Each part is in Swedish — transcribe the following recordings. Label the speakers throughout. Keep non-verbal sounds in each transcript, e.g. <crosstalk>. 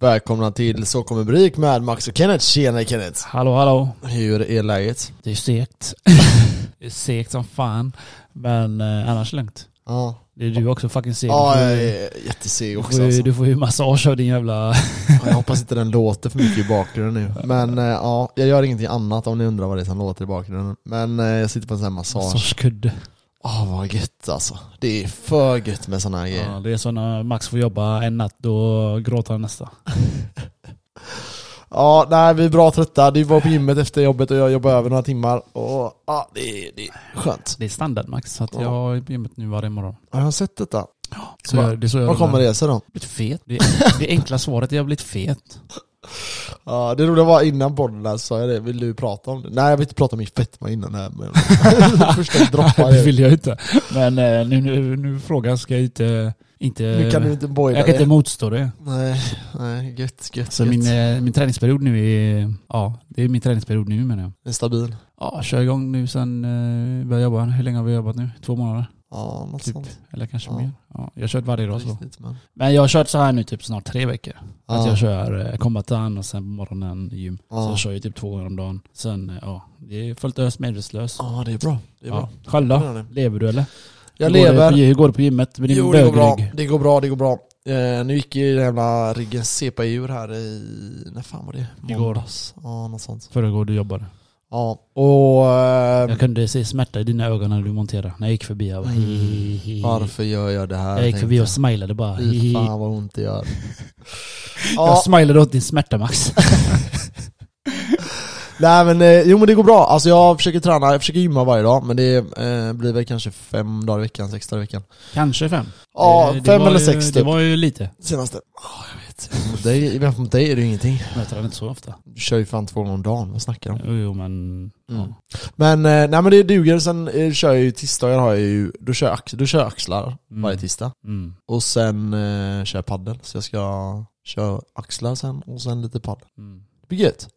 Speaker 1: Välkomna till Så kommer Brik med Max och Kenneth. Tjenare Kenneth!
Speaker 2: Hallå hallå.
Speaker 1: Hur är läget?
Speaker 2: Det är <laughs> segt. det är segt som fan. Men eh, annars lugnt.
Speaker 1: Ja,
Speaker 2: Det är du också fucking seg.
Speaker 1: ja
Speaker 2: Du får
Speaker 1: jag
Speaker 2: ju-
Speaker 1: är jätteseg
Speaker 2: du,
Speaker 1: också
Speaker 2: får ju,
Speaker 1: alltså.
Speaker 2: du får ju massage av din jävla...
Speaker 1: Ja, Jag hoppas inte den låter för mycket i bakgrunden nu. Men eh, ja, jag gör ingenting annat om ni undrar vad det är som låter i bakgrunden. Men eh, jag sitter på en sån här
Speaker 2: <laughs>
Speaker 1: massage.
Speaker 2: massagekudde.
Speaker 1: Åh vad gött alltså. Det är för gött med såna här grejer.
Speaker 2: Ja, det är så när Max får jobba en natt, då gråter han nästa.
Speaker 1: Ja, nej vi är bra trötta. Du var på gymmet efter jobbet och jag jobbade över några timmar. Och ja, det är, det är skönt.
Speaker 2: Det är standard Max, så att
Speaker 1: Ja.
Speaker 2: jag har gymmet nu varje morgon.
Speaker 1: Ja, Jag har sett detta.
Speaker 2: Så
Speaker 1: Va-
Speaker 2: jag, det är så jag
Speaker 1: Var kommer
Speaker 2: rullar.
Speaker 1: det sig då?
Speaker 2: Jag har blivit fet. Det, är- det är enkla svaret är jag har blivit fet.
Speaker 1: Ja, det roliga var innan podden där så sa jag det, vill du prata om det? Nej jag vill inte prata om min fetma innan det här men...
Speaker 2: <laughs>
Speaker 1: Första droppar
Speaker 2: det
Speaker 1: det.
Speaker 2: vill jag inte. Men eh, nu, nu, nu frågan ska jag inte... inte
Speaker 1: Nu kan du inte boila
Speaker 2: jag kan
Speaker 1: det.
Speaker 2: inte motstå det.
Speaker 1: Nej, nej, gött, gött,
Speaker 2: Så
Speaker 1: gött.
Speaker 2: min, eh, min träningsperiod nu är... Ja, det är min träningsperiod nu menar jag.
Speaker 1: Den är stabil.
Speaker 2: Ja, kör igång nu sen eh, vi började jobba. Hur länge har vi jobbat nu? Två månader?
Speaker 1: Ja, något
Speaker 2: Typ.
Speaker 1: sånt.
Speaker 2: Eller kanske
Speaker 1: Ja.
Speaker 2: mer? Ja, jag har kört varje dag så.
Speaker 1: Riktigt, men...
Speaker 2: Men jag har kört så här nu typ snart tre veckor. Att
Speaker 1: Ja,
Speaker 2: jag kör eh, kombatan och sen på morgonen gym. Så
Speaker 1: Ja.
Speaker 2: jag kör ju typ två gånger om dagen. Sen, eh, ja, det är fullt ös medvetslös.
Speaker 1: ja, det är bra. Det är bra.
Speaker 2: Ja. Själv då?
Speaker 1: Ja, det är det.
Speaker 2: Lever du eller?
Speaker 1: Jag
Speaker 2: Hur går det
Speaker 1: lever.
Speaker 2: på gy- Hur går det på gymmet? Med din
Speaker 1: Jo, det går bra.
Speaker 2: bögrygg?
Speaker 1: Det går bra, det går bra. Eh, nu gick ju den jävla riggen sepa ur här i... När fan var det?
Speaker 2: Igår.
Speaker 1: Måndags. Ja, något sånt.
Speaker 2: Förrgår du jobbade.
Speaker 1: Ja, och... ehm,
Speaker 2: Jag kunde se smärta i dina ögon när du monterade. När jag gick förbi. Jag bara,
Speaker 1: Mm.
Speaker 2: "Hi, hi, hi."
Speaker 1: varför gör jag det här?
Speaker 2: Jag gick
Speaker 1: tänkte
Speaker 2: förbi och smilade bara. "Hi, hi,
Speaker 1: Fy
Speaker 2: hi."
Speaker 1: fan vad ont det
Speaker 2: <laughs>
Speaker 1: gör.
Speaker 2: Jag
Speaker 1: ja,
Speaker 2: smilade åt din
Speaker 1: <laughs>
Speaker 2: smärta Max.
Speaker 1: nej men eh, jo men det går bra. Alltså jag försöker träna, jag försöker gymma varje dag men det eh, blir väl kanske fem dagar i veckan, sex dagar i veckan.
Speaker 2: Kanske fem.
Speaker 1: Ja,
Speaker 2: Eh, Det- det
Speaker 1: fem
Speaker 2: var
Speaker 1: eller
Speaker 2: ju-
Speaker 1: sex
Speaker 2: Det
Speaker 1: typ.
Speaker 2: var ju lite.
Speaker 1: Senaste. Ja, jag vet. Mot dig, men mot dig är det ju ingenting.
Speaker 2: Men Jag tränar inte så ofta.
Speaker 1: Du kör ju fan två gånger om dagen, vad snackar du om?
Speaker 2: Jo, jo men...
Speaker 1: Mm.
Speaker 2: Ja.
Speaker 1: Men eh, nej men det duger, sen eh, kör jag ju tisdagar har jag ju, då kör jag, ax- då kör jag axlar varje
Speaker 2: Mm.
Speaker 1: tisdag.
Speaker 2: Mm.
Speaker 1: Och sen eh, kör jag paddel så jag ska köra axlar sen och sen lite paddel.
Speaker 2: Mm.
Speaker 1: Det blir gött.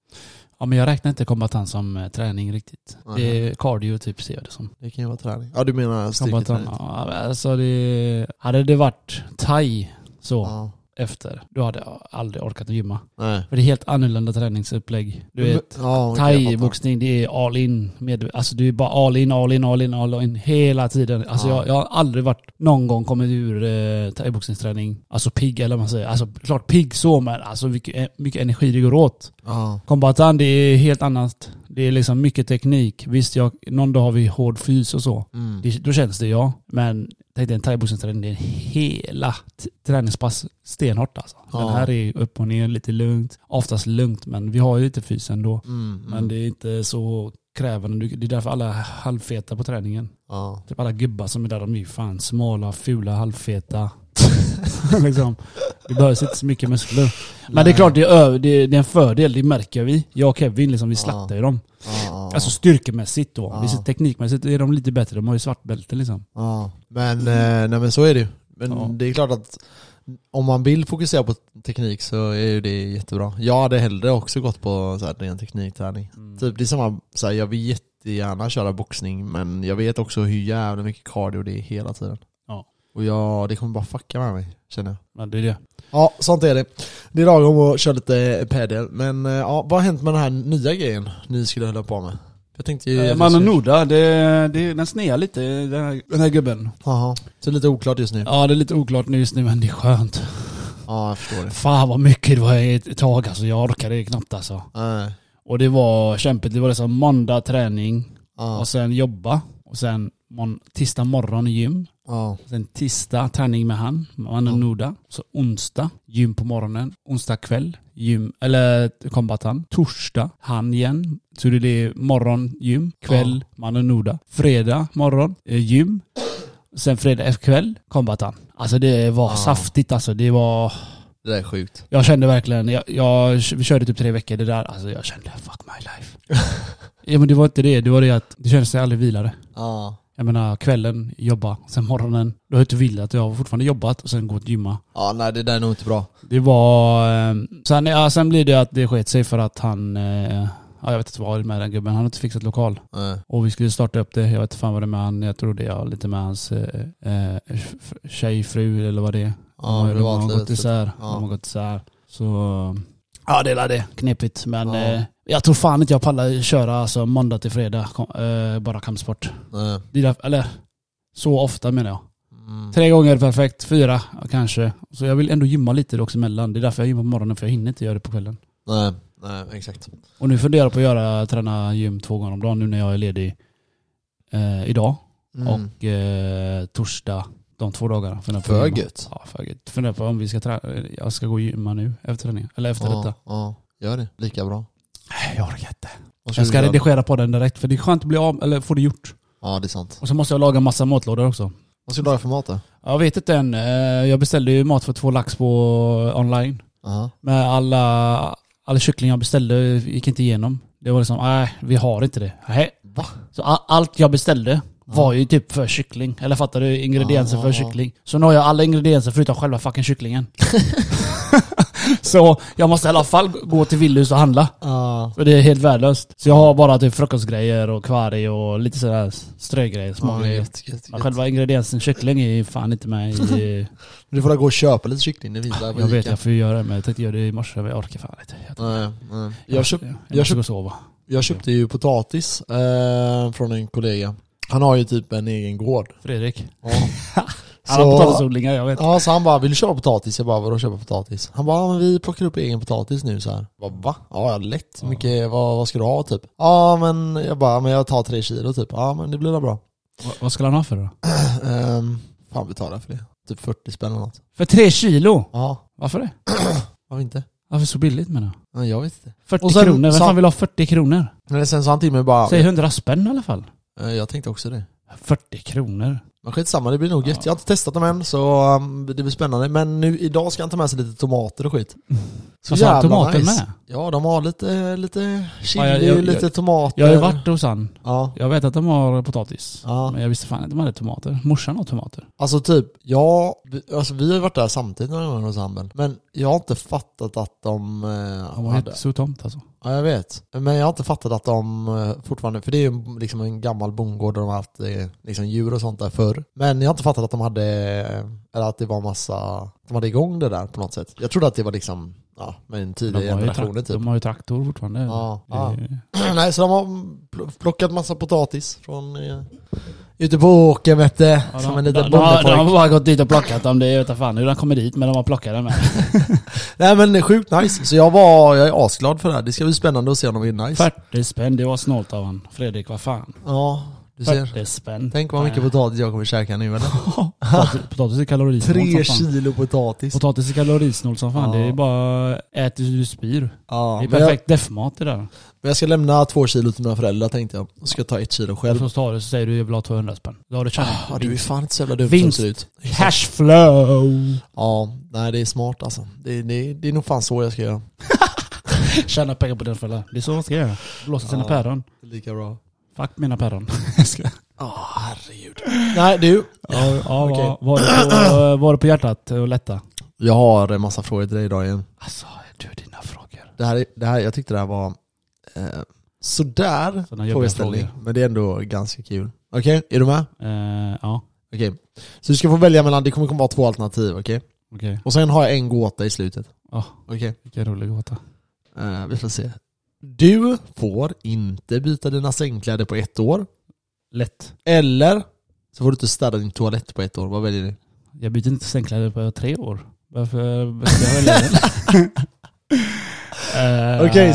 Speaker 2: Ja men jag räknar inte kombatant som eh, träning riktigt. Det är cardio typ ser jag det som.
Speaker 1: Det kan ju vara träning. Ja du menar
Speaker 2: Kombatant,
Speaker 1: styrketräning?
Speaker 2: ja, alltså det... Hade det varit thai så
Speaker 1: Ja.
Speaker 2: efter, då hade jag aldrig orkat att gymma.
Speaker 1: Nej.
Speaker 2: För det är helt annorlunda träningsupplägg. Du vet,
Speaker 1: ja, okej, jag fattar.
Speaker 2: thai-boxning det är all in. Med, alltså du är bara all in, all in, all in, all in hela tiden. Alltså
Speaker 1: Ja.
Speaker 2: jag, jag har aldrig varit, någon gång kommit ur eh, thaiboxningsträning, alltså pigg eller vad man säger. Alltså klart pigg så men alltså mycket, eh, mycket energi det går åt.
Speaker 1: Ja.
Speaker 2: Kombatan det är helt annat. Det är liksom mycket teknik. Visst, jag, någon dag har vi hård fys och så.
Speaker 1: Mm.
Speaker 2: Det, då känns det ja. Men tänk dig en thaiboxningsträning, det är hela t- träningspass stenhårt alltså.
Speaker 1: Ja.
Speaker 2: Den här är ju upp och ner, lite lugnt. Oftast lugnt men vi har ju lite fys ändå.
Speaker 1: Mm, mm.
Speaker 2: Men det är inte så krävande. Du- Det är därför alla är halvfeta på träningen.
Speaker 1: Ja.
Speaker 2: Typ alla gubbar som är där, de är ju fan smala, fula, halvfeta. <laughs> liksom. Det behövs inte så mycket muskler. Men det är klart, det är, över, det, är, det är en fördel, det märker vi. Jag och Kevin, liksom, vi slaktar ju dem.
Speaker 1: Ja, ja,
Speaker 2: Alltså styrkemässigt då.
Speaker 1: Ja.
Speaker 2: Visst, teknikmässigt är de lite bättre, de har ju svart bälte liksom.
Speaker 1: ja. Men, eh, nej, men så är det ju. Men
Speaker 2: Ja.
Speaker 1: det är klart att om man vill fokusera på teknik så är ju det jättebra. Jag hade hellre också gått på så här, ren teknikträning. Typ, det är samma, så här, jag vill jättegärna köra boxning men jag vet också hur jävla mycket cardio det är hela tiden.
Speaker 2: Ja.
Speaker 1: Och jag, det kommer bara fucka med mig, känner jag.
Speaker 2: Ja, det är det.
Speaker 1: Ja, sånt är det. Det är lagom att köra lite padel, men eh, ja, vad har hänt med den här nya grejen ni skulle hålla på med? Jag tänkte ju...
Speaker 2: Eh, Mannen Noda, det, det, den snear lite, den här, den här gubben.
Speaker 1: Jaha, så det är lite oklart just nu. Ja,
Speaker 2: Ja, det är lite oklart nu just nu, men det är skönt.
Speaker 1: jag förstår det.
Speaker 2: Fan vad mycket det var ett tag alltså. Jag orkade knappt alltså.
Speaker 1: Nej.
Speaker 2: Och det var kämpigt. Det var liksom måndag träning
Speaker 1: Ja,
Speaker 2: och sen jobba. Och sen mån- tisdag morgon gym.
Speaker 1: ja,
Speaker 2: Sen tisdag träning med han, mannen
Speaker 1: Ja.
Speaker 2: Noda. Så onsdag gym på morgonen. Onsdag kväll gym, eller kombatan. Torsdag han igen. Så det är morgon gym, kväll mannen Noda. Fredag morgon eh, gym. Sen fredag efter kväll kombatan. Alltså det var
Speaker 1: Ja.
Speaker 2: saftigt alltså. Det var...
Speaker 1: det där är sjukt.
Speaker 2: Jag kände verkligen, jag, jag vi körde typ tre veckor det där, alltså jag kände fuck my life. ja men det var inte det, det var det att det kändes som jag aldrig vilade.
Speaker 1: Ja.
Speaker 2: Jag menar kvällen, jobba, sen morgonen, då har jag inte vilat, jag har fortfarande jobbat och sen gått och gymma.
Speaker 1: Ja, nej det där är nog inte bra.
Speaker 2: Det var... Eh, sen, ja, sen blir det att det sket sig för att han, eh, ja, jag vet inte vad det är med den gubben, han har inte fixat lokal.
Speaker 1: Nej.
Speaker 2: Och vi skulle starta upp det, jag vet inte fan vad det är med han, jag tror det är lite med hans eh, eh, f- tjej, fru eller vad det är.
Speaker 1: Ja,
Speaker 2: de har, de har
Speaker 1: privatlivet.
Speaker 2: gått isär.
Speaker 1: typ- Ja.
Speaker 2: De har gått isär. Så ja, det är väl det. Knepigt. Men eh, jag tror fan inte jag pallar köra alltså, måndag till fredag kom, eh, bara kampsport.
Speaker 1: Nej.
Speaker 2: Det är därför- Eller så ofta menar jag.
Speaker 1: Mm.
Speaker 2: Tre gånger perfekt, fyra ja, kanske. Så jag vill ändå gymma lite då också emellan. Det är därför jag gymmar på morgonen för jag hinner inte göra det på kvällen.
Speaker 1: Nej, nej, exakt.
Speaker 2: Och nu funderar jag på att göra, träna gym två gånger om dagen nu när jag är ledig eh, idag
Speaker 1: Mm.
Speaker 2: och eh, torsdag de två dagarna. Funderar på att
Speaker 1: För
Speaker 2: gymma.
Speaker 1: gött.
Speaker 2: Ja, för gött. Funderar på om vi ska träna, jag ska gå och gymma nu efter träningen. Eller efter detta.
Speaker 1: Ja, ja, gör det. Lika bra.
Speaker 2: Nej, jag orkar inte.
Speaker 1: Och så
Speaker 2: Jag ska
Speaker 1: gör-
Speaker 2: redigera podden direkt för det är skönt att bli av, eller få det gjort.
Speaker 1: Ja, det är sant.
Speaker 2: Och så måste jag laga massa matlådor också.
Speaker 1: Vad ska du laga för mat då?
Speaker 2: Jag vet inte än. Eh, Jag beställde ju mat för två lax på eh, online.
Speaker 1: Aha.
Speaker 2: med alla, alla kycklingar jag beställde gick inte igenom. Det var liksom, nej vi har inte det. Nej.
Speaker 1: Va?
Speaker 2: Så a- allt jag beställde var ju typ för kyckling. Eller fattar du? Ingredienser
Speaker 1: Ja,
Speaker 2: för
Speaker 1: ja, ja.
Speaker 2: kyckling. Så nu har jag alla ingredienser förutom själva
Speaker 1: <laughs>
Speaker 2: fucking kycklingen. <laughs> så jag måste i alla fall gå till Willys och handla.
Speaker 1: Ja.
Speaker 2: För det är helt värdelöst. Så jag har bara typ frukostgrejer och kvarg och lite sådär strögrejer, smågrejer.
Speaker 1: gött, gött,
Speaker 2: Men
Speaker 1: gött.
Speaker 2: själva ingrediensen kyckling är ju fan inte med
Speaker 1: <laughs>
Speaker 2: i...
Speaker 1: Du får då gå och köpa lite kyckling. Det visar på
Speaker 2: Ah, Jag vet
Speaker 1: Ica.
Speaker 2: jag får ju göra det men jag tänkte göra det i morse men jag orkar fan inte. Jag
Speaker 1: Nej, nej. Jag, köp,
Speaker 2: jag,
Speaker 1: jag
Speaker 2: måste
Speaker 1: köp-
Speaker 2: gå och sova.
Speaker 1: jag köpte ju potatis eh, från en kollega. Han har ju typ en egen gård.
Speaker 2: Fredrik. <laughs> Alla
Speaker 1: Så,
Speaker 2: potatisodlingar, jag vet.
Speaker 1: ja, så han bara, vill du köpa potatis? Jag bara, vadå köpa potatis? Han bara, ja, men vi plockar upp egen potatis nu så här. Jag bara, va? Ja, ja, lätt. Hur mycket, vad, vad ska du ha typ? Ja, men jag bara, men jag tar tre kilo typ. Ja, men det blir väl bra. <clears throat>
Speaker 2: Va- Vad skulle han ha för då?
Speaker 1: Um, fan betalar jag för det? Typ 40 spänn eller något.
Speaker 2: För tre kilo?
Speaker 1: Ja,
Speaker 2: Varför det?
Speaker 1: varför inte?
Speaker 2: Varför så billigt menar jag?
Speaker 1: Ja, jag vet inte.
Speaker 2: 40
Speaker 1: Och sen
Speaker 2: kronor? Vem
Speaker 1: sa-
Speaker 2: fan vill ha 40 kronor?
Speaker 1: Men sen sa han till mig bara,
Speaker 2: Säg 100 spänn i alla fall.
Speaker 1: eh, jag tänkte också det.
Speaker 2: 40 kronor?
Speaker 1: Men skitsamma, det blir nog gött. Jag har inte testat dem än så um, det blir spännande. Men nu, idag ska han ta med sig lite tomater och
Speaker 2: <laughs>
Speaker 1: skit.
Speaker 2: Så sa han tomater med?
Speaker 1: Ja, de har lite, lite chili,
Speaker 2: Ja, jag- jag-
Speaker 1: lite
Speaker 2: jag-
Speaker 1: tomater.
Speaker 2: Jag har ju varit hos han.
Speaker 1: Ja,
Speaker 2: Jag vet att de har potatis.
Speaker 1: ja.
Speaker 2: Men jag visste fan inte de hade tomater. Morsan har tomater.
Speaker 1: Alltså typ, ja, vi- alltså vi har ju varit där samtidigt några gånger hos Handel. Men jag har inte fattat att de eh,
Speaker 2: Han var
Speaker 1: hade...
Speaker 2: helt så tomt alltså.
Speaker 1: Ja, jag vet. Men jag har inte fattat att de eh, fortfarande, för det är ju en- liksom en gammal bondgård där de har haft eh, liksom djur och sånt där förr. Men jag har inte fattat att de hade, eh, eller att det var massa, att de hade igång det där på något sätt. Jag trodde att det var liksom, ja, med en
Speaker 2: De
Speaker 1: tidig
Speaker 2: har, ju
Speaker 1: generation
Speaker 2: trak-
Speaker 1: typ.
Speaker 2: de har ju traktor fortfarande.
Speaker 1: Ja,
Speaker 2: Det-
Speaker 1: ja. <clears throat> Nej, så de har pl- plockat massa potatis från eh, ute på åkern vet du.
Speaker 2: Ja,
Speaker 1: som
Speaker 2: de,
Speaker 1: en
Speaker 2: de, de,
Speaker 1: liten
Speaker 2: har- de har
Speaker 1: bondepojk.
Speaker 2: bara gått dit och plockat dem. Det är- jag vet inte fan hur de kommer dit men de har plockat
Speaker 1: <laughs>
Speaker 2: dem med.
Speaker 1: Nej men det är sjukt nice. Så jag var, jag är asglad för det här. Det ska bli spännande att se om de är nice.
Speaker 2: 40 spänn, det var snålt av han. Fredrik, vad fan.
Speaker 1: Ja, du ser.
Speaker 2: 40 spänn.
Speaker 1: Tänk vad mycket potatis jag kommer käka nu eller?
Speaker 2: Potatis- Potatis är kalorisnålt
Speaker 1: Tre
Speaker 2: som fan.
Speaker 1: kilo potatis.
Speaker 2: Potatis är kalorisnålt som fan.
Speaker 1: Ja.
Speaker 2: Det är bara ät tills du spyr.
Speaker 1: Ja,
Speaker 2: Det är
Speaker 1: men, jag,
Speaker 2: perfekt deffmat det där.
Speaker 1: men jag ska lämna två kilo till mina föräldrar tänkte jag. Och ska ta ett kilo
Speaker 2: Och
Speaker 1: själv.
Speaker 2: så tar du så säger du jag vill ha 200 spänn. Då har Ah, du tjänat.
Speaker 1: Ja, du är fan inte så jävla dum som
Speaker 2: Vinst.
Speaker 1: ser ut.
Speaker 2: Cashflow!
Speaker 1: Ja, nej det är smart alltså. Det, det, det är nog fan så jag ska göra.
Speaker 2: <laughs> Tjäna pengar på den fällan. Det är så man ska göra. Blåsa sina
Speaker 1: Ja.
Speaker 2: päron.
Speaker 1: Lika bra.
Speaker 2: Fuck mina päron. <laughs>
Speaker 1: Ja, herregud. Nej du.
Speaker 2: ja, <laughs> ja,
Speaker 1: Okej.
Speaker 2: var, var, det <clears throat> på, var det på hjärtat och lätta?
Speaker 1: Jag har en massa frågor till dig idag igen.
Speaker 2: Alltså, du dina frågor.
Speaker 1: Det här, är- det här, jag tyckte det här var eh, sådär
Speaker 2: Sådana jobbiga
Speaker 1: frågeställning.
Speaker 2: frågor.
Speaker 1: Men det är ändå ganska kul. Okej, är du med?
Speaker 2: Eh, ja,
Speaker 1: Okej. Så du ska få välja mellan, det kommer komma vara två alternativ, okej?
Speaker 2: okej.
Speaker 1: Och sen har jag en gåta i slutet.
Speaker 2: Ja.
Speaker 1: Okej.
Speaker 2: Vilken rolig gåta.
Speaker 1: Eh, vi får se. Du får inte byta dina sängkläder på ett år.
Speaker 2: Lätt.
Speaker 1: Eller så får du inte städa din toalett på ett år. Vad väljer du?
Speaker 2: Jag byter inte sängkläder på tre år. Varför ska jag välja det?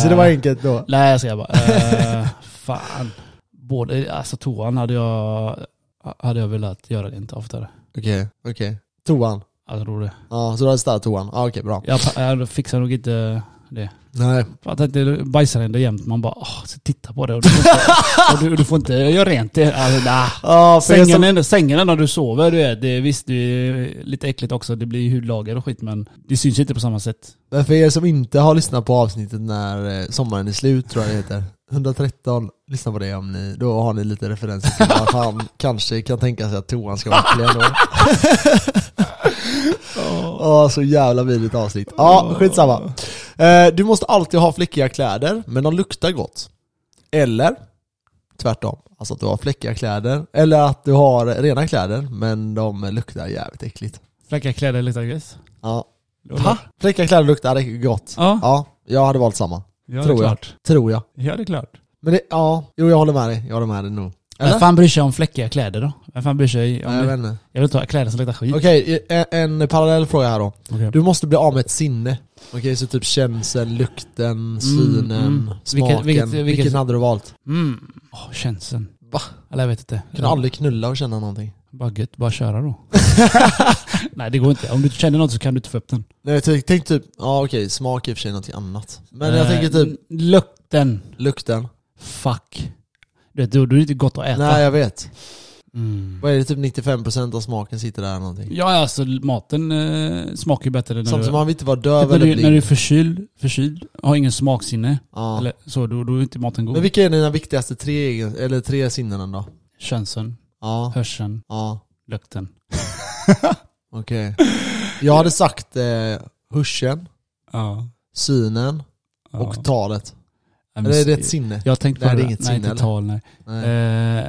Speaker 2: <laughs> Eh,
Speaker 1: enkelt då.
Speaker 2: Nej jag ska bara. eh, <laughs> fan. Både, alltså toan hade jag, hade jag velat göra det inte oftare.
Speaker 1: Okej, okej. Toan.
Speaker 2: Jag tror det.
Speaker 1: Ja, så du hade städat toan. Ja, okej, bra.
Speaker 2: Jag, pa- jag fixar nog inte det.
Speaker 1: Nej.
Speaker 2: Att inte bajsar ändå jämt. Man bara åh, så titta på det och du får inte, <laughs> och du, du får inte göra rent det. Alltså, nah.
Speaker 1: Ja, för er
Speaker 2: Sängen,
Speaker 1: som,
Speaker 2: är, sängen är när du sover, du vet, det är, visst det är lite äckligt också, det blir ju hudlager och skit men det syns ju inte på samma sätt.
Speaker 1: men för er som inte har lyssnat på avsnittet när eh, sommaren är slut, tror jag det heter. 113, lyssna på det om ni, då har ni lite referenser till vad han kanske kan tänka sig att toan ska vara äcklig ändå. Ja, så jävla vidrigt avsnitt. Ja, skitsamma. Eh, Du måste alltid ha fläckiga kläder, men de luktar gott. Eller tvärtom. Alltså att du har fläckiga kläder, eller att du har rena kläder, men de luktar jävligt äckligt.
Speaker 2: Fläckar kläder luktar gräs.
Speaker 1: Ja, Ha? Fräcka kläder luktar gott.
Speaker 2: Ja,
Speaker 1: Ja, jag hade valt samma.
Speaker 2: ja det är
Speaker 1: tror jag.
Speaker 2: klart.
Speaker 1: Tror jag.
Speaker 2: Ja, det är klart.
Speaker 1: Men det, ja, jo jag håller med dig. Jag håller med dig nog. Eller?
Speaker 2: Vem fan bryr sig om fläckiga kläder då? Vem fan bryr sig om
Speaker 1: Nej, jag vet
Speaker 2: det?
Speaker 1: inte.
Speaker 2: Jag vill inte ha kläder som luktar skit.
Speaker 1: Okej, en, en parallell fråga här då.
Speaker 2: Okej.
Speaker 1: Du måste bli av med ett sinne. Okej, så typ känseln, lukten, synen,
Speaker 2: mm.
Speaker 1: smaken.
Speaker 2: Vilket- vilket-
Speaker 1: Vilken,
Speaker 2: vilket-
Speaker 1: hade du valt?
Speaker 2: Mm. Åh, känslan.
Speaker 1: Va?
Speaker 2: Eller jag vet inte.
Speaker 1: Kan du aldrig knulla och känna någonting?
Speaker 2: Bara gött, bara köra då.
Speaker 1: <laughs>
Speaker 2: <laughs> Nej det går inte. Om du känner något så kan du inte få upp den.
Speaker 1: Nej, tänk, tänk typ, ja okej, smak i och för sig någonting annat. Men jag
Speaker 2: Eh,
Speaker 1: tänker typ
Speaker 2: n- Lukten.
Speaker 1: lukten.
Speaker 2: Fuck. Du vet, då då är det inte gott att äta.
Speaker 1: Nej jag vet.
Speaker 2: Mm.
Speaker 1: Vad är det, typ 95% av smaken sitter där någonting.
Speaker 2: Ja, alltså maten eh, smakar ju bättre när
Speaker 1: Samtidigt
Speaker 2: du...
Speaker 1: som man vill inte vara
Speaker 2: Typ
Speaker 1: döv
Speaker 2: när
Speaker 1: eller
Speaker 2: du, när du är
Speaker 1: blind.
Speaker 2: förkyld, förkyld, har ingen smaksinne,
Speaker 1: Ja.
Speaker 2: eller så, då, då är inte maten god.
Speaker 1: Men vilka är dina viktigaste tre, egen- eller tre sinnen då?
Speaker 2: Känseln,
Speaker 1: Ja,
Speaker 2: hörseln,
Speaker 1: ja,
Speaker 2: lukten.
Speaker 1: okej. Jag hade sagt eh, hörseln,
Speaker 2: Ja.
Speaker 1: synen
Speaker 2: ja.
Speaker 1: och talet.
Speaker 2: Ja, men
Speaker 1: Eller är det
Speaker 2: se-
Speaker 1: ett sinne?
Speaker 2: Jag tänkte
Speaker 1: Nej,
Speaker 2: på
Speaker 1: det
Speaker 2: det.
Speaker 1: är inget
Speaker 2: nej,
Speaker 1: sinne,
Speaker 2: inte
Speaker 1: eller?
Speaker 2: tal, nej.
Speaker 1: Nej.
Speaker 2: Eh,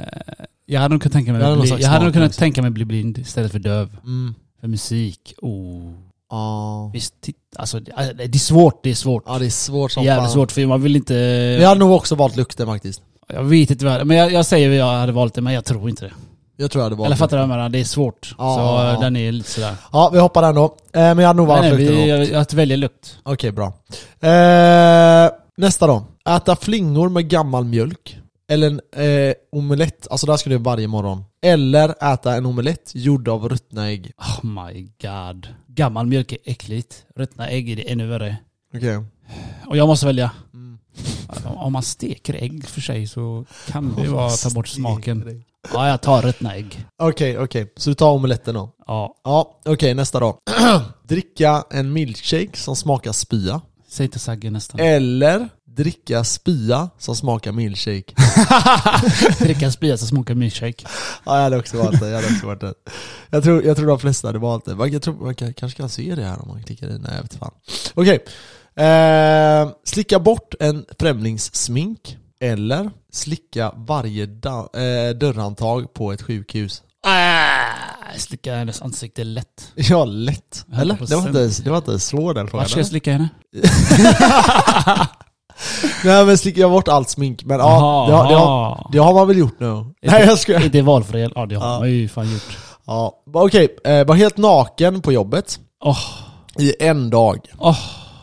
Speaker 2: jag hade nog kunnat tänka mig
Speaker 1: Det hade
Speaker 2: att
Speaker 1: någon
Speaker 2: bli,
Speaker 1: slags
Speaker 2: jag hade nog
Speaker 1: smak
Speaker 2: kunnat
Speaker 1: också.
Speaker 2: tänka mig bli blind istället för döv.
Speaker 1: Mm.
Speaker 2: För musik, oh.
Speaker 1: Ja.
Speaker 2: Visst, titt, alltså det alltså, det är svårt, det är svårt.
Speaker 1: ja, det är svårt som
Speaker 2: Jävligt
Speaker 1: fan.
Speaker 2: svårt för man vill inte...
Speaker 1: Men jag hade nog också valt lukten faktiskt.
Speaker 2: Jag vet inte vad, men jag, jag säger att jag hade valt det, men jag tror inte det.
Speaker 1: Jag tror jag hade valt
Speaker 2: Eller
Speaker 1: lukten.
Speaker 2: fattar du vad jag menar? Det är svårt.
Speaker 1: Ja,
Speaker 2: så
Speaker 1: ja, ja.
Speaker 2: den är lite sådär.
Speaker 1: Ja, vi hoppar den då. Eh, men jag hade nog
Speaker 2: Nej,
Speaker 1: valt
Speaker 2: nej,
Speaker 1: lukten
Speaker 2: vi,
Speaker 1: då.
Speaker 2: jag, jag väljer lukt.
Speaker 1: Okej, bra. Eh, nästa då. Äta flingor med gammal mjölk. Eller en eh, omelett, alltså det här ska du göra varje morgon. Eller äta en omelett gjord av ruttna ägg.
Speaker 2: Oh my god. Gammal mjölk är äckligt. Ruttna ägg är det ännu värre.
Speaker 1: Okej.
Speaker 2: Och jag måste välja.
Speaker 1: Mm.
Speaker 2: Om man steker ägg för sig så kan det vara att ta bort smaken.
Speaker 1: Okej,
Speaker 2: Ja, jag tar ruttna ägg.
Speaker 1: okej. Så du tar omeletten då?
Speaker 2: Ja,
Speaker 1: Ja, okej nästa då. <clears throat> dricka en milkshake som smakar spya.
Speaker 2: säg inte Sagge
Speaker 1: Eh.
Speaker 2: nästan.
Speaker 1: Eller dricka spya som smakar milkshake.
Speaker 2: <laughs> Dricka spya som smakar milkshake.
Speaker 1: ja, jag hade också valt det. Jag, hade också valt det. jag, tror, jag tror de flesta hade valt det. Man, jag tror, man kan, kanske kan se det här om man klickar i. Nej, jag vet fan. Okej. Eh, slicka bort en främlingssmink. Eller slicka varje da, eh, dörrhandtag på ett sjukhus. <laughs>
Speaker 2: Ah, slicka hennes ansikte lätt.
Speaker 1: Ja, lätt. Eller? Det var
Speaker 2: 100%.
Speaker 1: inte, det var inte svår den frågan.
Speaker 2: Vart ska jag slicka henne?
Speaker 1: Nej men slicka bort allt smink, men ja,
Speaker 2: Aha,
Speaker 1: det, har, det,
Speaker 2: aha.
Speaker 1: har, det har man väl gjort nu? Nej jag skojar.
Speaker 2: Inte valfri, ja det har
Speaker 1: Ja.
Speaker 2: man ju fan gjort.
Speaker 1: Ja, va- okej, eh, var helt naken på jobbet
Speaker 2: Åh,
Speaker 1: i en dag.
Speaker 2: åh.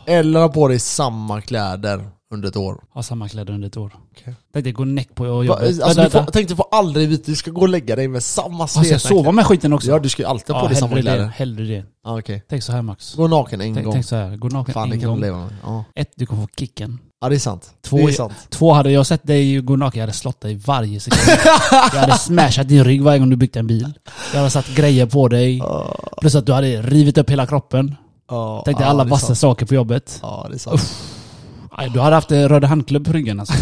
Speaker 1: Eller ha på dig samma kläder under ett år.
Speaker 2: Ha samma kläder under ett år.
Speaker 1: Okej.
Speaker 2: Tänkte gå näck på och
Speaker 1: Va,
Speaker 2: jobbet.
Speaker 1: alltså, du
Speaker 2: Vänta,
Speaker 1: får,
Speaker 2: vänta.
Speaker 1: tänk du får aldrig vita, du ska gå och lägga dig med samma
Speaker 2: Alltså jag sova med skiten också.
Speaker 1: Ja du ska ju alltid ha på dig samma
Speaker 2: hellre det.
Speaker 1: kläder.
Speaker 2: Hellre det.
Speaker 1: Ja, okej.
Speaker 2: Tänk så här Max.
Speaker 1: Gå naken en
Speaker 2: Tänk,
Speaker 1: gång.
Speaker 2: tänk så här, gå naken
Speaker 1: Fan det
Speaker 2: en
Speaker 1: kan
Speaker 2: gång.
Speaker 1: du leva med. Ja.
Speaker 2: Ett, du kommer få kicken.
Speaker 1: ja det är sant.
Speaker 2: Två
Speaker 1: det är
Speaker 2: i-
Speaker 1: sant.
Speaker 2: Två, hade jag sett dig gå naken, jag hade slått dig varje sekund.
Speaker 1: <laughs>
Speaker 2: jag hade smashat din rygg varje gång du byggt en bil. Jag hade satt grejer på dig. Plus att du hade rivit upp hela kroppen.
Speaker 1: Ja,
Speaker 2: Tänk dig
Speaker 1: ja,
Speaker 2: alla
Speaker 1: Ah. det är
Speaker 2: vassa
Speaker 1: sant.
Speaker 2: saker på jobbet.
Speaker 1: Ja det är sant.
Speaker 2: Aj, Du hade haft en röd handklubb på
Speaker 1: <laughs>
Speaker 2: ryggen alltså.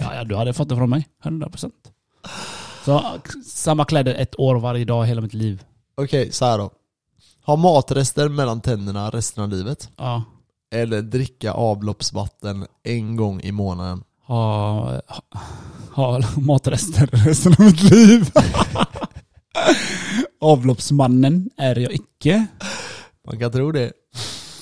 Speaker 2: ja, ja, du hade fått det från mig. 100%. Så samma kläder ett år varje dag hela mitt liv.
Speaker 1: Okej, så här då. Ha matrester mellan tänderna resten av livet.
Speaker 2: Ja.
Speaker 1: Eller dricka avloppsvatten en gång i månaden.
Speaker 2: ha, ha, ha matrester resten av mitt liv. <laughs> Avloppsmannen är jag icke.
Speaker 1: Man kan tro det.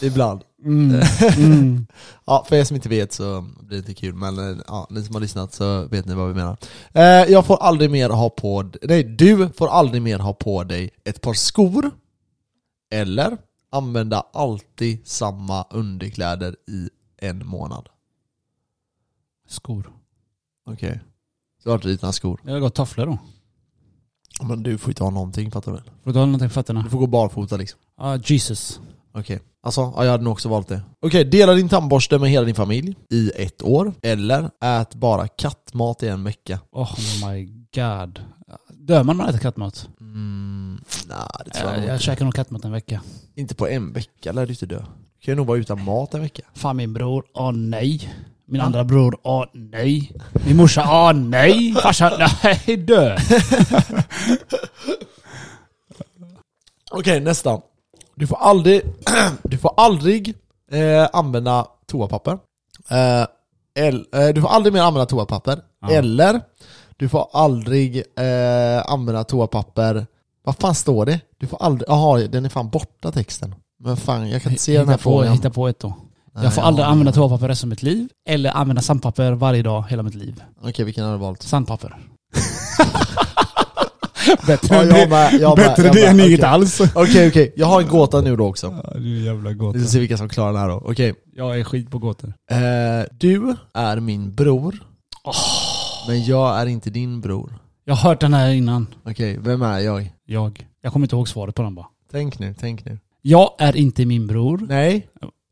Speaker 1: Ibland. <laughs>
Speaker 2: Mm. Mm.
Speaker 1: Ja, för er som inte vet så blir det inte kul, men eh, ja, ni som har lyssnat så vet ni vad vi menar. Eh, jag får aldrig mer ha på d- nej du får aldrig mer ha på dig ett par skor, eller använda alltid samma underkläder i en månad.
Speaker 2: Skor.
Speaker 1: Okej. Så har du dina skor.
Speaker 2: Jag har gått tofflor då.
Speaker 1: Men du får inte ha någonting fattar du väl?
Speaker 2: Får du ha någonting på fötterna?
Speaker 1: Du får gå barfota liksom.
Speaker 2: Ja, Jesus.
Speaker 1: Okej, alltså ja, jag hade nog också valt det. Okej, dela din tandborste med hela din familj i ett år. Eller ät bara kattmat i en vecka.
Speaker 2: Oh my god. Dör man när man äter kattmat?
Speaker 1: Mm, nej, det tror jag
Speaker 2: Jag,
Speaker 1: nog
Speaker 2: Äh, jag
Speaker 1: inte.
Speaker 2: käkar nog kattmat en vecka.
Speaker 1: Inte på en vecka lär du inte dö. Du kan ju nog vara utan mat en vecka.
Speaker 2: Fan min bror, åh nej. Min andra bror, åh nej. Min morsa, åh nej. Farsan, nej dö.
Speaker 1: Okej, nästa. Du får aldrig, <clears throat> du får aldrig eh, använda toapapper. Eh, el, eh, du får aldrig mer använda toapapper.
Speaker 2: Ja.
Speaker 1: Eller, du får aldrig eh, använda toapapper. Vad fan står det? Du får aldrig, jaha den är fan borta texten. Men fan, jag kan inte se den
Speaker 2: Hitta
Speaker 1: här
Speaker 2: på,
Speaker 1: frågan.
Speaker 2: hitta på ett då.
Speaker 1: Nej,
Speaker 2: jag får aldrig
Speaker 1: ja.
Speaker 2: använda toapapper resten av mitt liv. Eller använda sandpapper varje dag hela mitt liv.
Speaker 1: Okej, vilken har du valt? <laughs>
Speaker 2: Sandpapper. Bättre
Speaker 1: Ja,
Speaker 2: än
Speaker 1: jag
Speaker 2: det,
Speaker 1: har med, jag har med,
Speaker 2: bättre
Speaker 1: jag har
Speaker 2: det än
Speaker 1: med.
Speaker 2: inget
Speaker 1: Okej.
Speaker 2: alls.
Speaker 1: Okej, okej. Jag har en gåta nu då också.
Speaker 2: du är jävla gåta.
Speaker 1: Vi ska se vilka som klarar den här då. Okej.
Speaker 2: Jag är skit på gåtor.
Speaker 1: Eh, du är min bror. Men jag är inte din bror.
Speaker 2: Jag har hört den här innan.
Speaker 1: Okej, vem är jag?
Speaker 2: Jag. Jag kommer inte ihåg svaret på den bara.
Speaker 1: Tänk nu, tänk nu.
Speaker 2: Jag är inte min bror.
Speaker 1: Nej.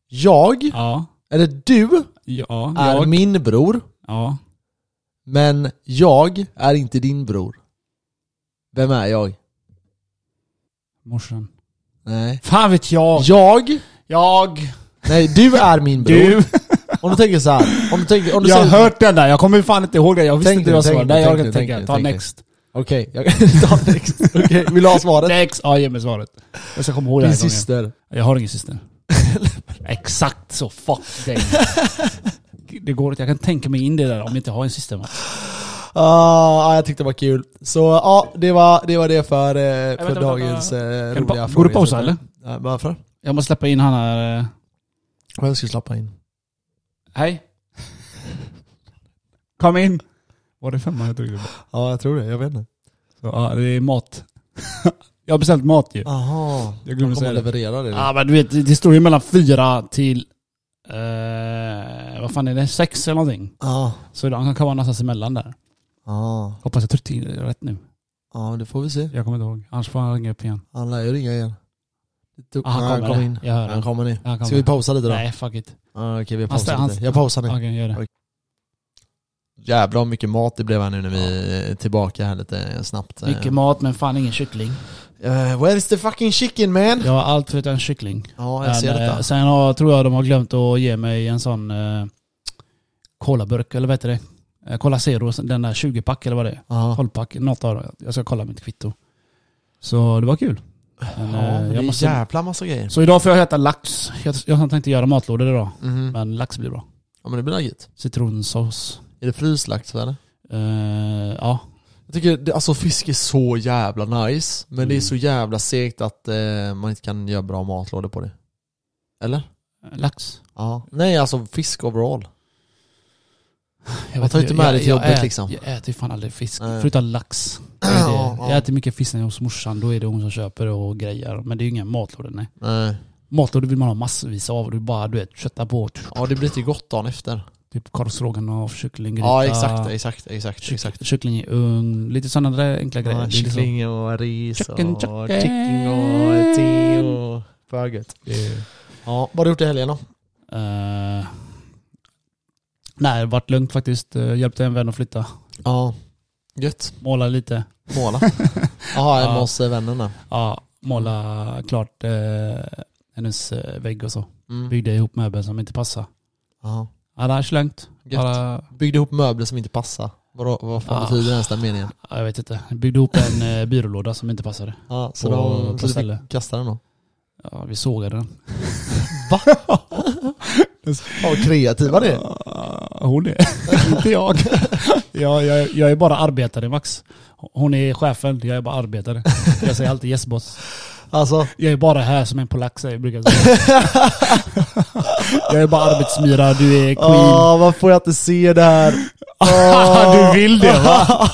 Speaker 1: Jag,
Speaker 2: Ja.
Speaker 1: eller du,
Speaker 2: Ja.
Speaker 1: är
Speaker 2: jag.
Speaker 1: min bror.
Speaker 2: Ja.
Speaker 1: Men jag är inte din bror. Vem är jag?
Speaker 2: Morsan.
Speaker 1: Nej.
Speaker 2: Fan vet jag.
Speaker 1: Jag?
Speaker 2: Jag.
Speaker 1: Nej, du är min bror.
Speaker 2: Du.
Speaker 1: Om du tänker så här. Om du tänker, om du
Speaker 2: Jag har
Speaker 1: säger-
Speaker 2: hört den där. Jag kommer fan inte ihåg det. Jag visste
Speaker 1: Tänk
Speaker 2: inte
Speaker 1: nu,
Speaker 2: vad
Speaker 1: tänk
Speaker 2: svaret
Speaker 1: nu,
Speaker 2: Nej, jag
Speaker 1: tänk
Speaker 2: kan
Speaker 1: nu,
Speaker 2: inte tänka.
Speaker 1: tänk
Speaker 2: Ta
Speaker 1: nu.
Speaker 2: next.
Speaker 1: Okej, jag kan ta next. Okej, vill du ha svaret?
Speaker 2: Next. Ja, ge mig svaret. Jag ska komma ihåg det
Speaker 1: Din
Speaker 2: här gången.
Speaker 1: syster.
Speaker 2: Jag har ingen <laughs> syster. Exakt så. Fuck <laughs> dig. Det går inte. Jag kan tänka mig in i det där om jag inte har en syster. Man.
Speaker 1: Ah, ah, jag tyckte det var kul. Så ja, ah, det, var, det var det för, eh, för
Speaker 2: vänta, vänta.
Speaker 1: dagens eh,
Speaker 2: Kan du pa-
Speaker 1: roliga
Speaker 2: Går du pausa
Speaker 1: frågor.
Speaker 2: eller?
Speaker 1: Nej, varför?
Speaker 2: Jag måste släppa in han här. eh.
Speaker 1: Vem ska slappa in?
Speaker 2: Hej. <laughs> Kom in. Var det femman jag tog?
Speaker 1: Ja, jag tror det. Jag vet inte.
Speaker 2: Ja, det är mat. <laughs> jag har beställt mat ju.
Speaker 1: Jaha.
Speaker 2: Jag
Speaker 1: De
Speaker 2: glömde
Speaker 1: kommer
Speaker 2: säga det.
Speaker 1: leverera det.
Speaker 2: Ja, men du vet, det det står ju mellan fyra till... eh, vad fan är det? Sex eller någonting.
Speaker 1: Ja.
Speaker 2: Så han kan vara någonstans emellan där.
Speaker 1: Ja.
Speaker 2: Hoppas jag tryckte in det rätt nu.
Speaker 1: Ja, det får vi se.
Speaker 2: Jag kommer inte ihåg. Annars får han ringa upp igen.
Speaker 1: Han lär ju ringa igen. Det tog-
Speaker 2: Ah, han
Speaker 1: Nej,
Speaker 2: kommer.
Speaker 1: in.
Speaker 2: Jag hör
Speaker 1: Han
Speaker 2: det.
Speaker 1: kommer nu.
Speaker 2: Han kommer.
Speaker 1: Ska vi pausa lite då?
Speaker 2: Nej, fuck it.
Speaker 1: Ah, Okej, vi
Speaker 2: Han stä-
Speaker 1: pausar
Speaker 2: han-
Speaker 1: lite. Jag pausar nu.
Speaker 2: Okej, gör det.
Speaker 1: Jävlar vad mycket mat det blev här nu när vi är tillbaka här lite snabbt.
Speaker 2: Mycket mat men fan ingen kyckling.
Speaker 1: Eh, where's the fucking chicken man?
Speaker 2: Jag har allt förutom en kyckling.
Speaker 1: Ja, jag ser
Speaker 2: Men, eh,
Speaker 1: detta.
Speaker 2: Sen har, tror jag de har glömt att ge mig en sån eh, colaburk, eller vad heter det? Eh, Cola Zero, den där 20-pack eller vad det är.
Speaker 1: Ja.
Speaker 2: 12-pack, något av det. Jag ska kolla mitt kvitto. Så det var kul. Men,
Speaker 1: Ja,
Speaker 2: eh,
Speaker 1: men det
Speaker 2: jag
Speaker 1: är
Speaker 2: måste-
Speaker 1: jävla massa grejer.
Speaker 2: Så idag får jag äta lax. Jag, jag tänkte göra matlådor idag,
Speaker 1: Mhm.
Speaker 2: men lax blir bra.
Speaker 1: Ja men det blir gött.
Speaker 2: Citronsås.
Speaker 1: Är det fryslax eller?
Speaker 2: Eh, ja,
Speaker 1: Jag tycker, det, alltså fisk är så jävla nice, men det är
Speaker 2: Mm.
Speaker 1: så jävla segt att eh, man inte kan göra bra matlådor på det. Eller?
Speaker 2: lax.
Speaker 1: Ja. Nej alltså fisk overall.
Speaker 2: Jag
Speaker 1: Man tar
Speaker 2: vet
Speaker 1: inte med det till
Speaker 2: jag
Speaker 1: jobbet,
Speaker 2: ät-
Speaker 1: liksom.
Speaker 2: Jag äter ju fan aldrig fisk,
Speaker 1: Nej.
Speaker 2: förutom lax. Det är
Speaker 1: <clears throat>
Speaker 2: det.
Speaker 1: <clears throat> Ja, ja.
Speaker 2: Jag äter mycket fisk när jag är hos morsan, då är det hon som köper och grejer. Men det är ju inga matlådor nej.
Speaker 1: Nej.
Speaker 2: Matlådor vill man ha massvis av, du bara du vet, köttar på.
Speaker 1: Ja det blir till gott dagen efter.
Speaker 2: Typ korvstroganoff, kycklinggryta.
Speaker 1: Ja exakt, exakt, exakt.
Speaker 2: kyck-
Speaker 1: exakt.
Speaker 2: Kyckling i ugn, lite sådana där enkla grejer. Det
Speaker 1: Ja,
Speaker 2: är liksom-
Speaker 1: kyckling och ris
Speaker 2: Chicken,
Speaker 1: och
Speaker 2: chicken.
Speaker 1: chicken och te och... För gött. Ja, vad har du gjort i helgen då?
Speaker 2: Eh, nej, det varit lugnt faktiskt. Eh, Hjälpte en vän att flytta.
Speaker 1: Ja, gött.
Speaker 2: Måla lite. <laughs>
Speaker 1: Måla. Jaha, hemma
Speaker 2: Ja.
Speaker 1: hos eh, vännen där.
Speaker 2: Ja, måla klart eh, hennes eh, vägg och så.
Speaker 1: Mm.
Speaker 2: Byggde ihop möbeln som inte passade.
Speaker 1: Ja.
Speaker 2: Annars lugnt.
Speaker 1: Gött.
Speaker 2: Bara,
Speaker 1: Byggde ihop möbler som inte passar. Vad, vad fan
Speaker 2: Ah.
Speaker 1: betyder ens den meningen?
Speaker 2: ja, jag vet inte. Byggde ihop en eh, byrålåda som inte passade.
Speaker 1: Ja, så,
Speaker 2: På-
Speaker 1: de,
Speaker 2: på
Speaker 1: så du
Speaker 2: ställe.
Speaker 1: fick kasta
Speaker 2: <laughs>
Speaker 1: den då? <laughs>
Speaker 2: Ja, vi sågade den.
Speaker 1: Va? Ja, vad kreativa ni är.
Speaker 2: Ja, Ah, Hon är. <laughs> inte jag. jag, jag. Jag är bara arbetare Max. Hon är chefen, jag är bara arbetare. Jag säger alltid yes boss.
Speaker 1: Alltså,
Speaker 2: Jag är bara här som en polack säger jag brukar säga. Jag är bara arbetsmyra, du är queen.
Speaker 1: åh, varför får jag inte se det här?
Speaker 2: <laughs> du vill det va?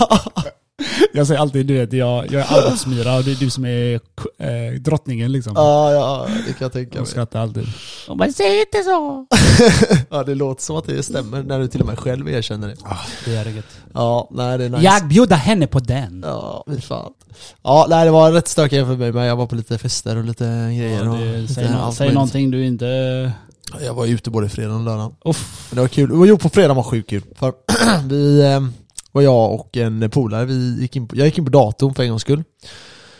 Speaker 2: Jag säger alltid du vet, jag, jag är arbetsmyra och det är du som är eh, drottningen liksom.
Speaker 1: Ja, ja, det kan jag tänka
Speaker 2: Hon
Speaker 1: mig.
Speaker 2: skrattar alltid. Hon bara, säg inte så!
Speaker 1: Ja, det låter som att det stämmer när du till och med själv erkänner det.
Speaker 2: Det är gött.
Speaker 1: Ja, nej det är nice.
Speaker 2: Jag bjuder henne på den.
Speaker 1: Ja, fy fan. Ja, nej det var rätt stökigt för mig men jag var på lite fester och lite grejer och lite
Speaker 2: säg no-
Speaker 1: allt
Speaker 2: säg
Speaker 1: möjligt.
Speaker 2: någonting du inte...
Speaker 1: Jag var ute både fredag och lördag.
Speaker 2: Uff.
Speaker 1: Men det var kul. Och Jo, på fredag var sjukt kul. För <clears throat> vi eh, var jag och en polare, vi gick in på, jag gick in på datorn för en gångs skull.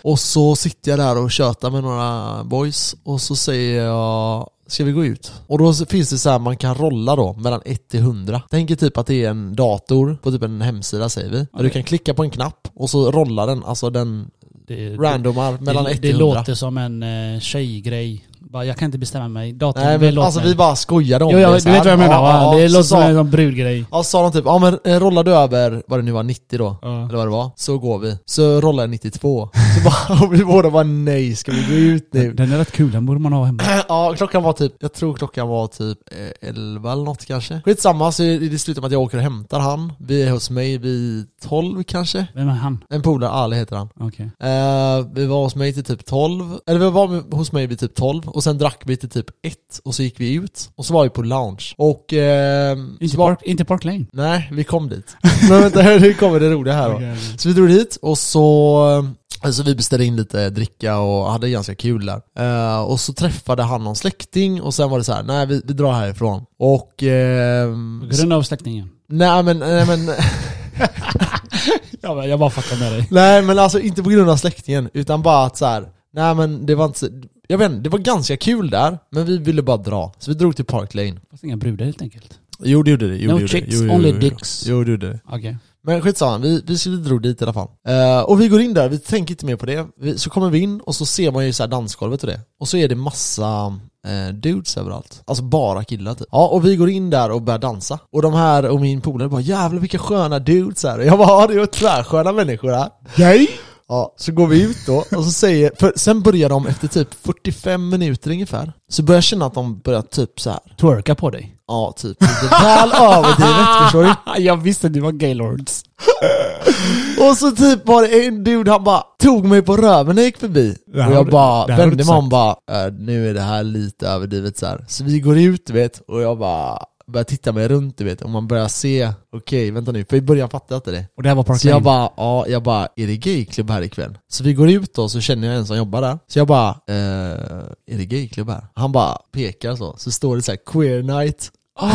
Speaker 1: Och så sitter jag där och tjötar med några boys och så säger jag Ska vi gå ut? Och då finns det så här, man kan rolla då mellan 1 till 100. Tänk er typ att det är en dator på typ en hemsida säger vi. Där du kan klicka på en knapp och så rollar den, alltså den
Speaker 2: Det,
Speaker 1: randomar mellan
Speaker 2: det,
Speaker 1: 1
Speaker 2: det
Speaker 1: till 100.
Speaker 2: låter som en eh, tjejgrej. Bara, jag kan inte bestämma mig. Datorn
Speaker 1: Nej,
Speaker 2: vill
Speaker 1: men,
Speaker 2: låta
Speaker 1: alltså
Speaker 2: mig.
Speaker 1: vi bara skojade om
Speaker 2: jo, jag,
Speaker 1: det.
Speaker 2: vet-
Speaker 1: så
Speaker 2: Du vet vad
Speaker 1: här.
Speaker 2: jag
Speaker 1: Ja,
Speaker 2: menar va?
Speaker 1: ja,
Speaker 2: Det
Speaker 1: så
Speaker 2: låter som
Speaker 1: sa-
Speaker 2: en sån brudgrej.
Speaker 1: Ja, sa de typ, ja men eh, rollar du över, vad det nu var, 90 då?
Speaker 2: Ja.
Speaker 1: Eller vad det var? Så går vi. Så rollar jag 92. Så bara, <laughs> och vi båda bara nej, ska vi gå ut
Speaker 2: <laughs>
Speaker 1: nu?
Speaker 2: Den är rätt kul, den borde man ha hemma.
Speaker 1: Ja, klockan var typ, jag tror klockan var typ eh, 11 eller något kanske. Skitsamma, så är det det slutar med att jag åker och hämtar han. Vi är hos mig vid 12 kanske.
Speaker 2: Vem är han?
Speaker 1: En polare, Ali heter han.
Speaker 2: Okej.
Speaker 1: Eh, vi var hos mig till typ 12, eller vi var med- hos mig vid typ 12 och sen drack vi till typ 1 och så gick vi ut och så var vi på lounge och... Eh,
Speaker 2: Inte,
Speaker 1: så var,
Speaker 2: park, inte Park Lane.
Speaker 1: nej, vi kom dit.
Speaker 2: <laughs>
Speaker 1: Men vänta, nu kommer det roliga här då. Så vi drog dit och så Alltså vi beställde in lite dricka och hade ganska kul där. Eh, och så träffade han någon släkting och sen var det så här: nej vi, vi drar härifrån. Och... ehm,
Speaker 2: På grund av släktingen.
Speaker 1: nej men, nej men, <laughs>
Speaker 2: Jag bara, jag bara fuckar med dig.
Speaker 1: nej men alltså inte på grund av släktingen utan bara att så här. nej men det var inte så- jag vet inte, det var ganska kul där, men vi ville bara dra. Så vi drog till Park Lane.
Speaker 2: Fast inga brudar helt enkelt.
Speaker 1: Jo det gjorde det. Jo,
Speaker 2: No
Speaker 1: det gjorde det.
Speaker 2: chicks,
Speaker 1: Jo, jo,
Speaker 2: only
Speaker 1: jo, jo.
Speaker 2: dicks.
Speaker 1: Jo det gjorde det.
Speaker 2: Okej.
Speaker 1: Men skitsamma, vi, vi skulle dro dit i alla fall. Eh, och vi går in där, vi tänker inte mer på det. Vi, så kommer vi in och så ser man ju så här dansgolvet och det. Och så är det massa eh, dudes överallt. Alltså bara killar typ. Ja, och vi går in där och börjar dansa. Och de här och min polare bara 'Jävlar vilka sköna dudes' här. Och jag bara 'Ja det är ju tvärsköna människor här'
Speaker 2: Nej!
Speaker 1: Ja, så går vi ut då och så säger, för sen börjar de efter typ 45 minuter ungefär, så börjar jag känna att de börjar typ så här.
Speaker 2: Twerka på dig.
Speaker 1: ja typ lite väl överdrivet förstår
Speaker 2: <laughs>
Speaker 1: du?
Speaker 2: jag visste du var gaylords.
Speaker 1: Och så typ var det en dude, han bara tog mig på röven när jag gick förbi.
Speaker 2: Det här
Speaker 1: och
Speaker 2: har
Speaker 1: jag
Speaker 2: du-
Speaker 1: bara
Speaker 2: det här har
Speaker 1: vände
Speaker 2: du
Speaker 1: mig om och bara, "Äh, nu är det här lite överdrivet så här. Så vi går ut du vet, och jag bara börjar titta mig runt du vet, och man börjar se, okej vänta nu, för i början fattade jag inte det.
Speaker 2: Och det här var Park
Speaker 1: Så
Speaker 2: Lane.
Speaker 1: jag bara, ja, jag bara, är det gayklubb här ikväll? Så vi går ut då, så känner jag en som jobbar där. Så jag bara, eh, är det gayklubb här? Han bara pekar så, så står det så här queer night.
Speaker 2: Ah,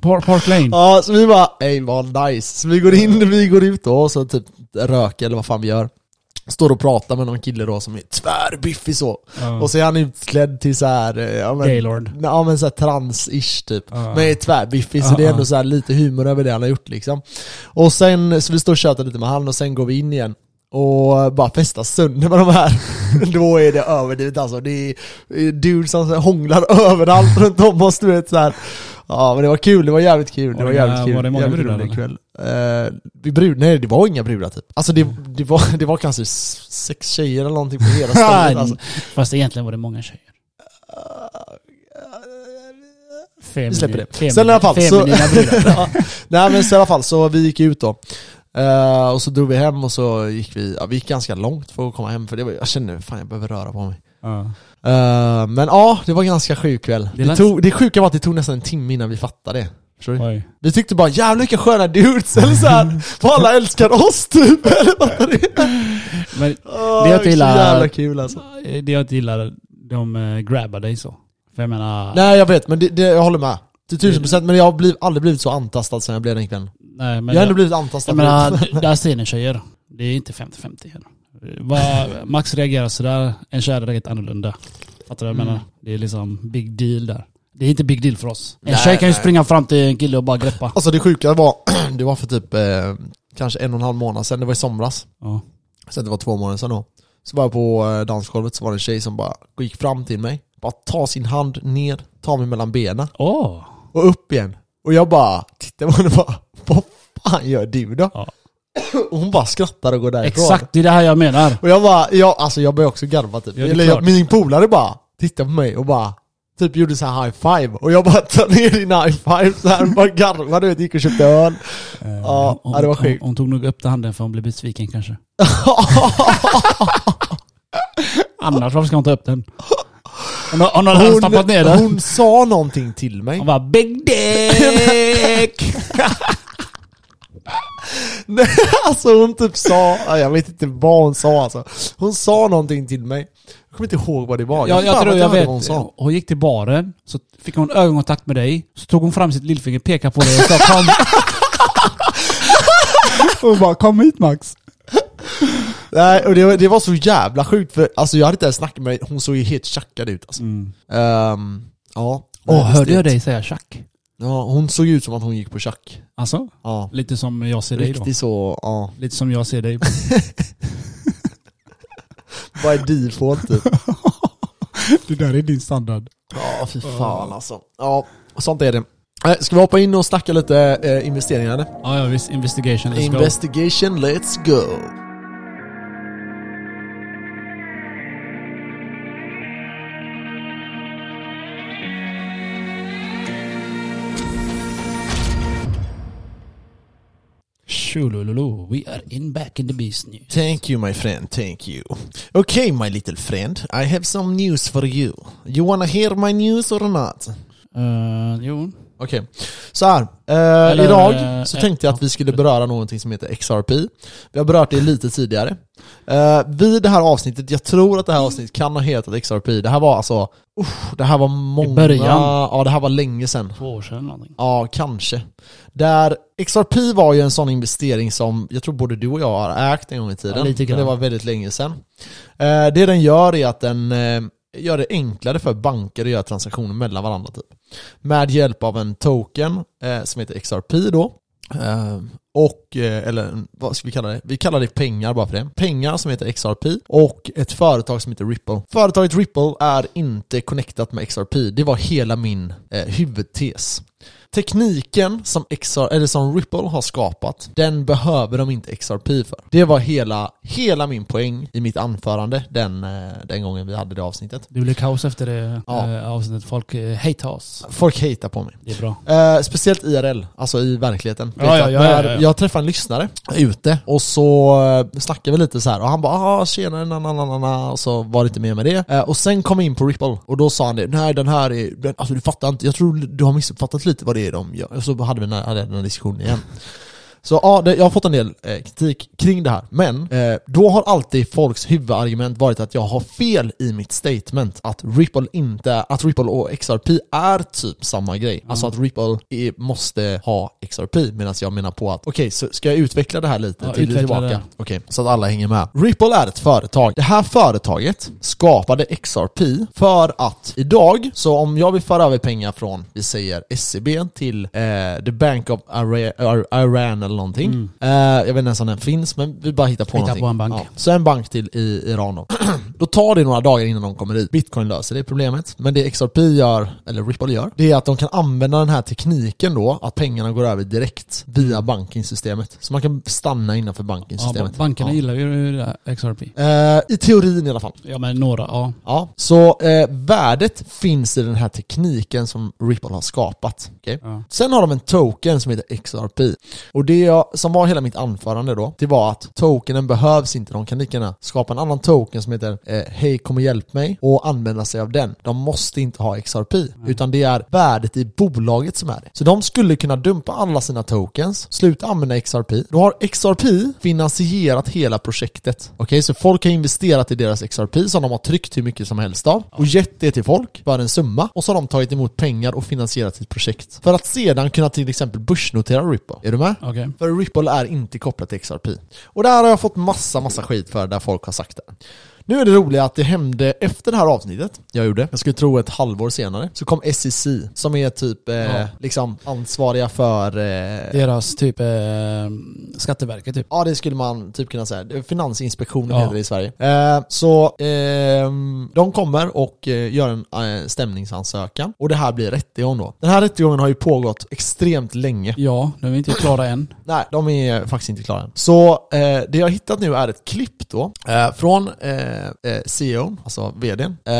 Speaker 2: Par- Park Lane.
Speaker 1: Ja, så vi bara ey vad nice' Så vi går in, vi går ut då, och så typ röker eller vad fan vi gör Står och pratar med någon kille då som är tvärbiffig så
Speaker 2: Ja.
Speaker 1: Och så är han utklädd till så här, eh, ja men,
Speaker 2: Gaylord.
Speaker 1: ja, men så här trans-ish typ
Speaker 2: Ja.
Speaker 1: Men är tvärbiffig så
Speaker 2: Ja,
Speaker 1: det är
Speaker 2: ja.
Speaker 1: ändå så här lite humor över det han har gjort liksom Och sen, så vi står och tjötar lite med han och sen går vi in igen och bara festar sönder med de här. <laughs> Då är det överdrivet alltså. Det är eh, dudes som så här hånglar <laughs> överallt runt om oss, du vet så här. Ja men det var kul, det var jävligt kul. Det
Speaker 2: Var
Speaker 1: var
Speaker 2: det
Speaker 1: jävligt
Speaker 2: många-
Speaker 1: kul.
Speaker 2: var det många
Speaker 1: jävligt
Speaker 2: brudar,
Speaker 1: rolig kväll. Uh, brud, nej det var inga brudar typ. Alltså det, det, var, det var kanske s- sex tjejer eller någonting på
Speaker 2: <laughs>
Speaker 1: hela stället. Alltså.
Speaker 2: Fast egentligen var det många tjejer. Femini,
Speaker 1: Vi släpper det. Sen i alla fall, så-
Speaker 2: Feminina
Speaker 1: <laughs>
Speaker 2: brudar.
Speaker 1: ja. Nej men så i alla fall, så vi gick ut då. Eh, och så drog vi hem och så gick vi, ja, vi gick ganska långt för att komma hem för det var, jag kände fan jag behöver röra på mig.
Speaker 2: Ja.
Speaker 1: Eh, men ja, det var en ganska sjuk kväll.
Speaker 2: Det
Speaker 1: Det,
Speaker 2: lät-
Speaker 1: tog, det sjuka var att det tog nästan en timme innan vi fattade det. Förstår du?
Speaker 2: Oj.
Speaker 1: Vi tyckte bara 'Jävlar vilka sköna dudes' eller såhär, för alla älskar oss typ! Eller fattar du?
Speaker 2: Men
Speaker 1: Åh,
Speaker 2: Det jag inte gillar-
Speaker 1: Så jävla kul alltså.
Speaker 2: det jag inte gillar, de eh, grabbar dig så. För jag menar,
Speaker 1: Nej jag vet, men det, det, jag håller med. Till tusen procent, men jag har bliv, aldrig blivit så antastad som jag blev den kvällen.
Speaker 2: nej, men
Speaker 1: Jag har ändå blivit antastad.
Speaker 2: jag menar, där ser ni tjejer. Det är inte 50-50 här. Vad- Max reagerar sådär, en tjej hade reagerat annorlunda. Fattar du
Speaker 1: Mm.
Speaker 2: vad jag menar? Det är liksom big deal där. Det är inte big deal för oss. En
Speaker 1: Nej,
Speaker 2: tjej kan ju
Speaker 1: nej.
Speaker 2: springa fram till en kille och bara greppa.
Speaker 1: <laughs> Alltså det sjuka var, <clears throat> det var för typ eh, kanske en och en halv månad sedan, det var i somras.
Speaker 2: Ja.
Speaker 1: Så det var två månader sedan då. Så var jag på eh, dansgolvet så var det en tjej som bara gick fram till mig, bara ta sin hand ner, ta mig mellan benen
Speaker 2: Åh!
Speaker 1: och upp igen. Och jag bara tittade på henne och bara, vad fan gör du då?
Speaker 2: Ja.
Speaker 1: Och hon bara skrattar och går därifrån.
Speaker 2: Exakt, det är det här jag menar.
Speaker 1: Och jag bara, jag, alltså jag började också garva typ.
Speaker 2: Ja, det är
Speaker 1: Eller
Speaker 2: klart.
Speaker 1: jag, min polare bara tittade på mig och bara Typ gjorde så här high five och jag bara <laughs> ta ner din high five så här och bara garvade du vet, gick och köpte öl. Ja,
Speaker 2: Eh, Hon-
Speaker 1: ja, det var
Speaker 2: hon,
Speaker 1: sjukt.
Speaker 2: hon tog nog upp den handen för hon blev besviken
Speaker 1: <laughs>
Speaker 2: kanske. Annars varför ska hon ta upp den? Hon har, hon har redan stoppat ner den.
Speaker 1: hon sa någonting till mig.
Speaker 2: Hon bara big dick!
Speaker 1: <laughs> Nej, alltså hon typ sa, ja, jag vet inte vad hon sa alltså. Hon sa någonting till mig. Jag kommer inte ihåg vad det var.
Speaker 2: jag,
Speaker 1: fan
Speaker 2: jag tror
Speaker 1: att
Speaker 2: jag
Speaker 1: hörde
Speaker 2: vet.
Speaker 1: vad Hon sa.
Speaker 2: Hon gick till baren, så fick hon ögonkontakt med dig, så tog hon fram sitt lillfinger, pekade på dig och sa
Speaker 1: <laughs>
Speaker 2: kom. Hon bara kom hit Max.
Speaker 1: Nej, och det, det var så jävla sjukt för alltså, jag hade inte ens snackat med hon såg ju helt tjackad ut alltså. Ehm, ja.
Speaker 2: Mm. Åh,
Speaker 1: Nej,
Speaker 2: hörde jag
Speaker 1: visst.
Speaker 2: dig säga tjack?
Speaker 1: Ja, hon såg ut som att hon gick på tjack.
Speaker 2: Alltså,
Speaker 1: Ja.
Speaker 2: lite som jag ser dig då.
Speaker 1: Riktigt så, ja.
Speaker 2: Lite som jag ser dig.
Speaker 1: Vad är default typ?
Speaker 2: Det där är din standard.
Speaker 1: <laughs> Ja, fy fan alltså. Ja, sånt är det. Eh, Ska vi hoppa in och snacka lite eh, investeringar eller?
Speaker 2: Ja, ja visst. Investigation. Let's go.
Speaker 1: Investigation, let's go!
Speaker 2: Shulululu, we are in back in the business.
Speaker 1: Thank you my friend, thank you. Okay my little friend, I have some news for you. You wanna hear my news or not?
Speaker 2: Uh, jo.
Speaker 1: Okej, så här. Eh,
Speaker 2: Eller,
Speaker 1: idag så
Speaker 2: eh,
Speaker 1: tänkte jag att vi skulle beröra någonting som heter XRP. Vi har berört det lite tidigare. Eh, vid det här avsnittet, jag tror att det här avsnittet kan ha hetat XRP. Det här var alltså, usch, det här var många...
Speaker 2: början.
Speaker 1: Ja, det här var länge sedan.
Speaker 2: Två år sedan någonting.
Speaker 1: Ja, kanske. Där XRP var ju en sån investering som jag tror både du och jag har ägt en gång i tiden.
Speaker 2: Ja, lite grann.
Speaker 1: Men Det var väldigt länge sedan. Eh, Det den gör är att den eh, gör det enklare för banker att göra transaktioner mellan varandra. Typ. Med hjälp av en token eh, som heter XRP då. Eh, Och, eh, eller vad ska vi kalla det? Vi kallar det pengar bara för det. Pengar som heter XRP och ett företag som heter Ripple. Företaget Ripple är inte connectat med XRP. Det var hela min eh, huvudtes. Tekniken som, XR, eller som Ripple har skapat, den behöver de inte XRP för. Det var hela, hela min poäng i mitt anförande den, eh, den gången vi hade det avsnittet.
Speaker 2: Det blev kaos efter det
Speaker 1: Ja.
Speaker 2: eh, avsnittet. Folk eh, hate oss.
Speaker 1: Folk hatar på mig.
Speaker 2: Det är bra.
Speaker 1: Eh, speciellt IRL, alltså i verkligheten.
Speaker 2: Ja,
Speaker 1: Vet jag
Speaker 2: ja,
Speaker 1: att
Speaker 2: ja,
Speaker 1: när
Speaker 2: ja, ja.
Speaker 1: Jag träffade en lyssnare ute och så eh, snackade vi lite så här och han bara ah, tjena, na, na, na, na, na, och så var det inte mer med det. Eh, och sen kom jag in på Ripple och då sa han det, nej den här är, den, alltså du fattar inte, jag tror du har missuppfattat lite vad det är de gör. Och så hade vi den här, hade den här diskussionen igen. Så ja, det, jag har fått en del eh, kritik kring det här. Men eh, då har alltid folks huvudargument varit att jag har fel i mitt statement. Att Ripple, inte, att Ripple och XRP är typ samma grej.
Speaker 2: Mm.
Speaker 1: Alltså att Ripple är, måste ha XRP. Medan jag menar på att, okej, så ska jag utveckla det här lite?
Speaker 2: Ja,
Speaker 1: till och
Speaker 2: utveckla
Speaker 1: tillbaka.
Speaker 2: det.
Speaker 1: Okej, så att alla hänger med. Ripple är ett företag. Det här företaget skapade XRP för att idag, så om jag vill föra över pengar från, vi säger SCB till eh, The Bank of Ira- Ar- Iran eller någonting. Eh, jag vet inte ens om den finns, men vi bara hittar på
Speaker 2: Hitta
Speaker 1: någonting.
Speaker 2: Mm. på en bank.
Speaker 1: Ja, så en bank till i Iran då. då tar det några dagar innan de kommer dit. Bitcoin löser det problemet. Men det XRP gör, eller Ripple gör, det är att de kan använda den här tekniken då, att pengarna går över direkt via bankingsystemet. Så man kan stanna innanför
Speaker 2: Mm. Ja,
Speaker 1: bankingsystemet.
Speaker 2: bankerna
Speaker 1: Ja.
Speaker 2: gillar ju det där XRP.
Speaker 1: Eh, I teorin i alla fall.
Speaker 2: Ja men några, ja.
Speaker 1: Ja. Så eh, värdet finns i den här tekniken som Ripple har skapat. Okej?
Speaker 2: Ja.
Speaker 1: Sen har de en token som heter XRP. Och det jag, som var hela mitt anförande då, det var att tokenen behövs inte. De kan lika gärna skapa en annan token som heter eh, Hej kom och hjälp mig och använda sig av den. De måste inte ha XRP, utan det är värdet i bolaget som är det. Så de skulle kunna dumpa alla sina tokens, sluta använda XRP. Då har XRP finansierat hela projektet. Okej, så folk har investerat i deras XRP som de har tryckt hur mycket som helst av och gett det till folk för en summa och så har de tagit emot pengar och finansierat sitt projekt. För att sedan kunna till exempel börsnotera Ripple. Är du med?
Speaker 2: Okej.
Speaker 1: För Ripple är inte kopplat till XRP. Och det här har jag fått massa, massa skit för där folk har sagt det. Nu är det roliga att det hände efter det här avsnittet jag gjorde, jag skulle tro ett halvår senare, så kom SEC som är typ eh,
Speaker 2: Ja.
Speaker 1: liksom ansvariga för eh,
Speaker 2: Deras typ eh, Skatteverket typ.
Speaker 1: Ja det skulle man typ kunna säga. Finansinspektionen
Speaker 2: Ja.
Speaker 1: heter det i Sverige. Eh, så ehm, de kommer och eh, gör en eh, stämningsansökan och det här blir rättegång då. Den här rättegången har ju pågått extremt länge.
Speaker 2: Ja, de är inte klara än.
Speaker 1: Nej, de är faktiskt inte klara än. Så eh, det jag har hittat nu är ett klipp då eh, från eh, eh, CEOn, alltså VDn, eh,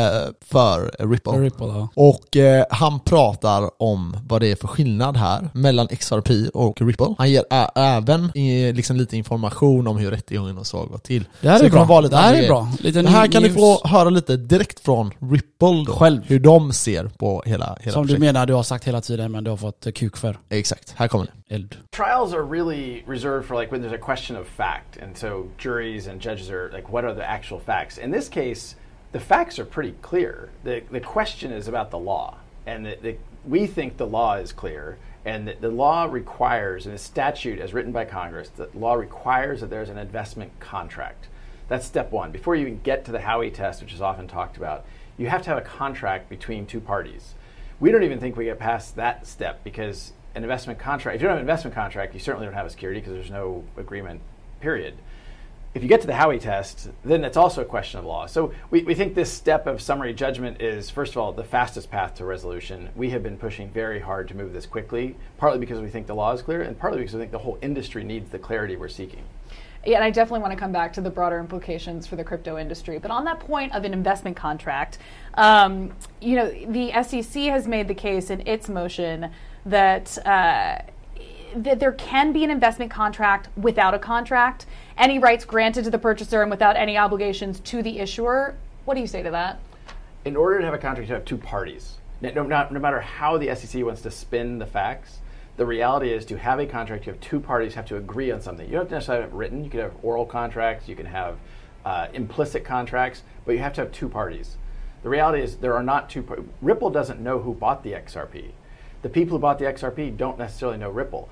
Speaker 1: för Ripple.
Speaker 2: Ripple, ja.
Speaker 1: Och eh, han pratar om vad det är för skillnad här mellan XRP och Ripple. Han ger ä- även eh, liksom lite information om hur rättegången och så har gått till.
Speaker 2: Det här
Speaker 1: Så
Speaker 2: är
Speaker 1: kommer
Speaker 2: bra.
Speaker 1: vara lite
Speaker 2: Det här
Speaker 1: andra
Speaker 2: är
Speaker 1: grejer.
Speaker 2: bra. Lite
Speaker 1: Det här kan ni
Speaker 2: news.
Speaker 1: få höra lite direkt från Ripple då,
Speaker 2: Själv.
Speaker 1: hur de ser på hela, hela
Speaker 2: Som du
Speaker 1: projektet.
Speaker 2: menar du har sagt hela tiden men du har fått eh, kuk för
Speaker 1: Exakt, här kommer det.
Speaker 2: eld.
Speaker 3: trials are really reserved for like when there's a question of fact and so juries and judges are like what are the actual facts in this case the facts are pretty clear the, the question is about the law and the, the, we think the law is clear and that the law requires and the statute as written by congress the law requires that there's an investment contract that's step one before you even get to the howey test which is often talked about you have to have a contract between two parties we don't even think we get past that step because an investment contract, if you don't have an investment contract, you certainly don't have a security because there's no agreement, period. If you get to the Howey test, then it's also a question of law. So we, we think this step of summary judgment is, first of all, the fastest path to resolution. We have been pushing very hard to move this quickly, partly because we think the law is clear, and partly because we think the whole industry needs the clarity we're seeking.
Speaker 4: Yeah, and I definitely want to come back to the broader implications for the crypto industry. But on that point of an investment contract, um, you know, the SEC has made the case in its motion that. Uh, that there can be an investment contract without a contract, any rights granted to the purchaser and without any obligations to the issuer. What do you say to that?
Speaker 3: In order to have a contract, you have two parties. No, no, not- no matter how the SEC wants to spin the facts, the reality is to have a contract, you have two parties have to agree on something. You don't have to necessarily have it written. You could have oral contracts. You can have uh, implicit contracts, but you have to have two parties. The reality is there are not two. Par- Ripple doesn't know who bought the XRP. The people who bought the XRP don't necessarily know Ripple.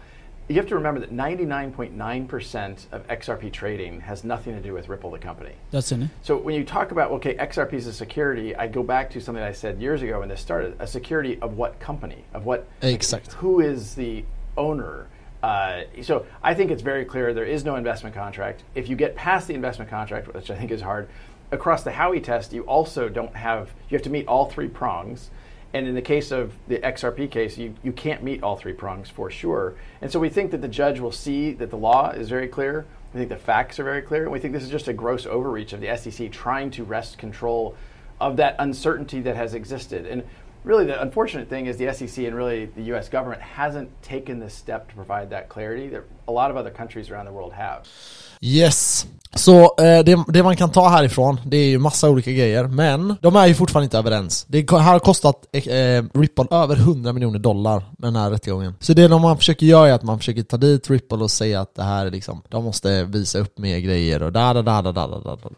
Speaker 3: You have to remember that 99.9% of XRP trading has nothing to do with Ripple, the company.
Speaker 2: That's in it.
Speaker 3: So when you talk about okay, XRP is a security, I go back to something I said years ago when this started: a security of what company, of what
Speaker 1: Exact.
Speaker 3: who is the owner. Uh, so I think it's very clear there is no investment contract. If you get past the investment contract, which I think is hard, across the Howey test, you also don't have. You have to meet all three prongs. And in the case of the XRP case, you, you can't meet all three prongs for sure. And so we think that the judge will see that the law is very clear. We think the facts are very clear. And we think this is just a gross overreach of the SEC trying to wrest control of that uncertainty that has existed. And really, the unfortunate thing is the SEC and really the U.S. government hasn't taken this step to provide that clarity that a lot of other countries around the world have.
Speaker 1: Yes. Så eh, det, det man kan ta härifrån, det är ju massa olika grejer, men de är ju fortfarande inte överens. Det ko- har kostat eh, eh, Ripple över 100 miljoner dollar med den här rättegången. Så det de man försöker göra är att man försöker ta dit Ripple och säga att det här är liksom, de måste visa upp mer grejer och da da da da da da da da.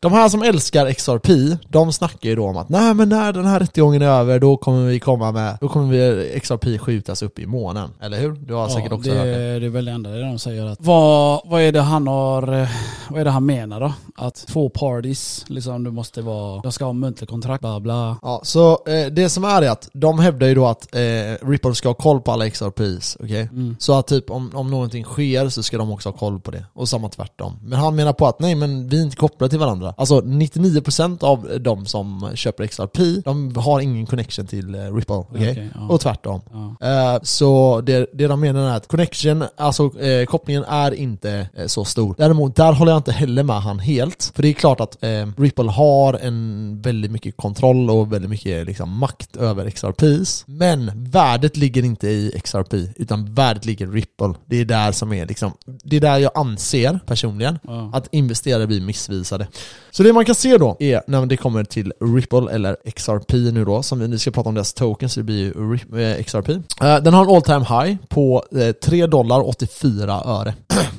Speaker 1: De här som älskar XRP, de snackar ju då om att nej men när den här rättegången är över då kommer vi komma med, då kommer vi eh, XRP skjutas upp i månen. Eller hur? Du har säkert också
Speaker 2: det,
Speaker 1: hört det.
Speaker 2: det är väl det enda de säger att vad, vad är det han har, eh, vad är det han menar då? Att två parties, liksom du måste vara, jag ska ha muntlig kontrakt, bla bla.
Speaker 1: Ja, så eh, det som är är att de hävdar ju då att eh, Ripple ska ha koll på alla XRPs, okej?
Speaker 2: Mm.
Speaker 1: Så att typ om, om någonting sker så ska de också ha koll på det, och samma tvärtom. Men han menar på att nej men vi är inte kopplade till varandra. Alltså 99% av de som köper XRP, de har ingen connection till eh, Ripple, okej?
Speaker 2: Okej, ja.
Speaker 1: Och tvärtom. Eh, så det, det de menar är att connection, alltså eh, kopplingen är inte eh, så stor. Däremot, där håller jag inte heller med han helt. För det är klart att eh, Ripple har en väldigt mycket kontroll och väldigt mycket liksom, makt över XRPs. Men värdet ligger inte i XRP, utan värdet ligger i Ripple. Det är där som är liksom, det är där jag anser personligen
Speaker 2: Ja.
Speaker 1: att investerare blir missvisade. Så det man kan se då är när det kommer till Ripple eller XRP nu då, som vi nu ska prata om deras token, så det blir ju Rip- eh, XRP. Eh, Den har en all time high på eh, 3 dollar 84 öre.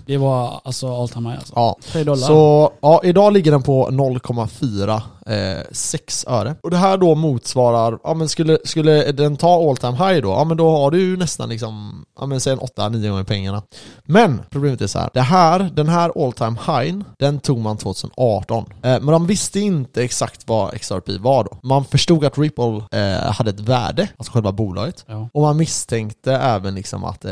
Speaker 2: Det var alltså all time high alltså.
Speaker 1: Ja.
Speaker 2: Tre dollar.
Speaker 1: Så ja, idag ligger den på 0,4 eh, sex öre. Och det här då motsvarar, ja men skulle, skulle den ta all time high då, ja men då har du ju nästan liksom, ja men säg en 8-9 gånger pengarna. Men problemet är så här, det här, den här all time high, den tog man 2018. Eh, men de visste inte exakt vad XRP var då. Man förstod att Ripple eh, hade ett värde, alltså själva bolaget.
Speaker 2: Ja.
Speaker 1: Och man misstänkte även liksom att, eh,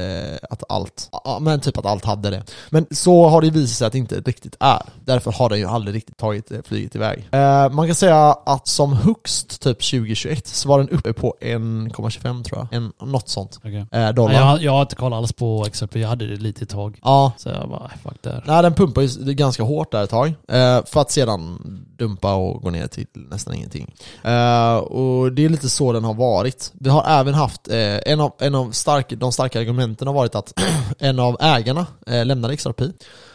Speaker 1: att allt, ja, men typ att allt hade det. Men så har det visat sig att det inte riktigt är. Därför har den ju aldrig riktigt tagit eh, flyget iväg. Eh, man kan säga att som högst typ 2021 så var den uppe på 1,25 tror jag. En, något sånt.
Speaker 2: Okej.
Speaker 1: Eh, dollar.
Speaker 2: Nej,
Speaker 1: Ja,
Speaker 2: jag, jag har inte kollat alls på XRP, jag hade det lite ett tag. Så jag bara, "Äh, fuck där.
Speaker 1: Nej, den pumpar ju ganska hårt där ett tag. Eh, för att sedan dumpa och gå ner till nästan ingenting. Eh, och det är lite så den har varit. Vi har även haft, eh, en av, en av stark, de starka argumenten har varit att <clears throat> en av ägarna eh, lämnade XRP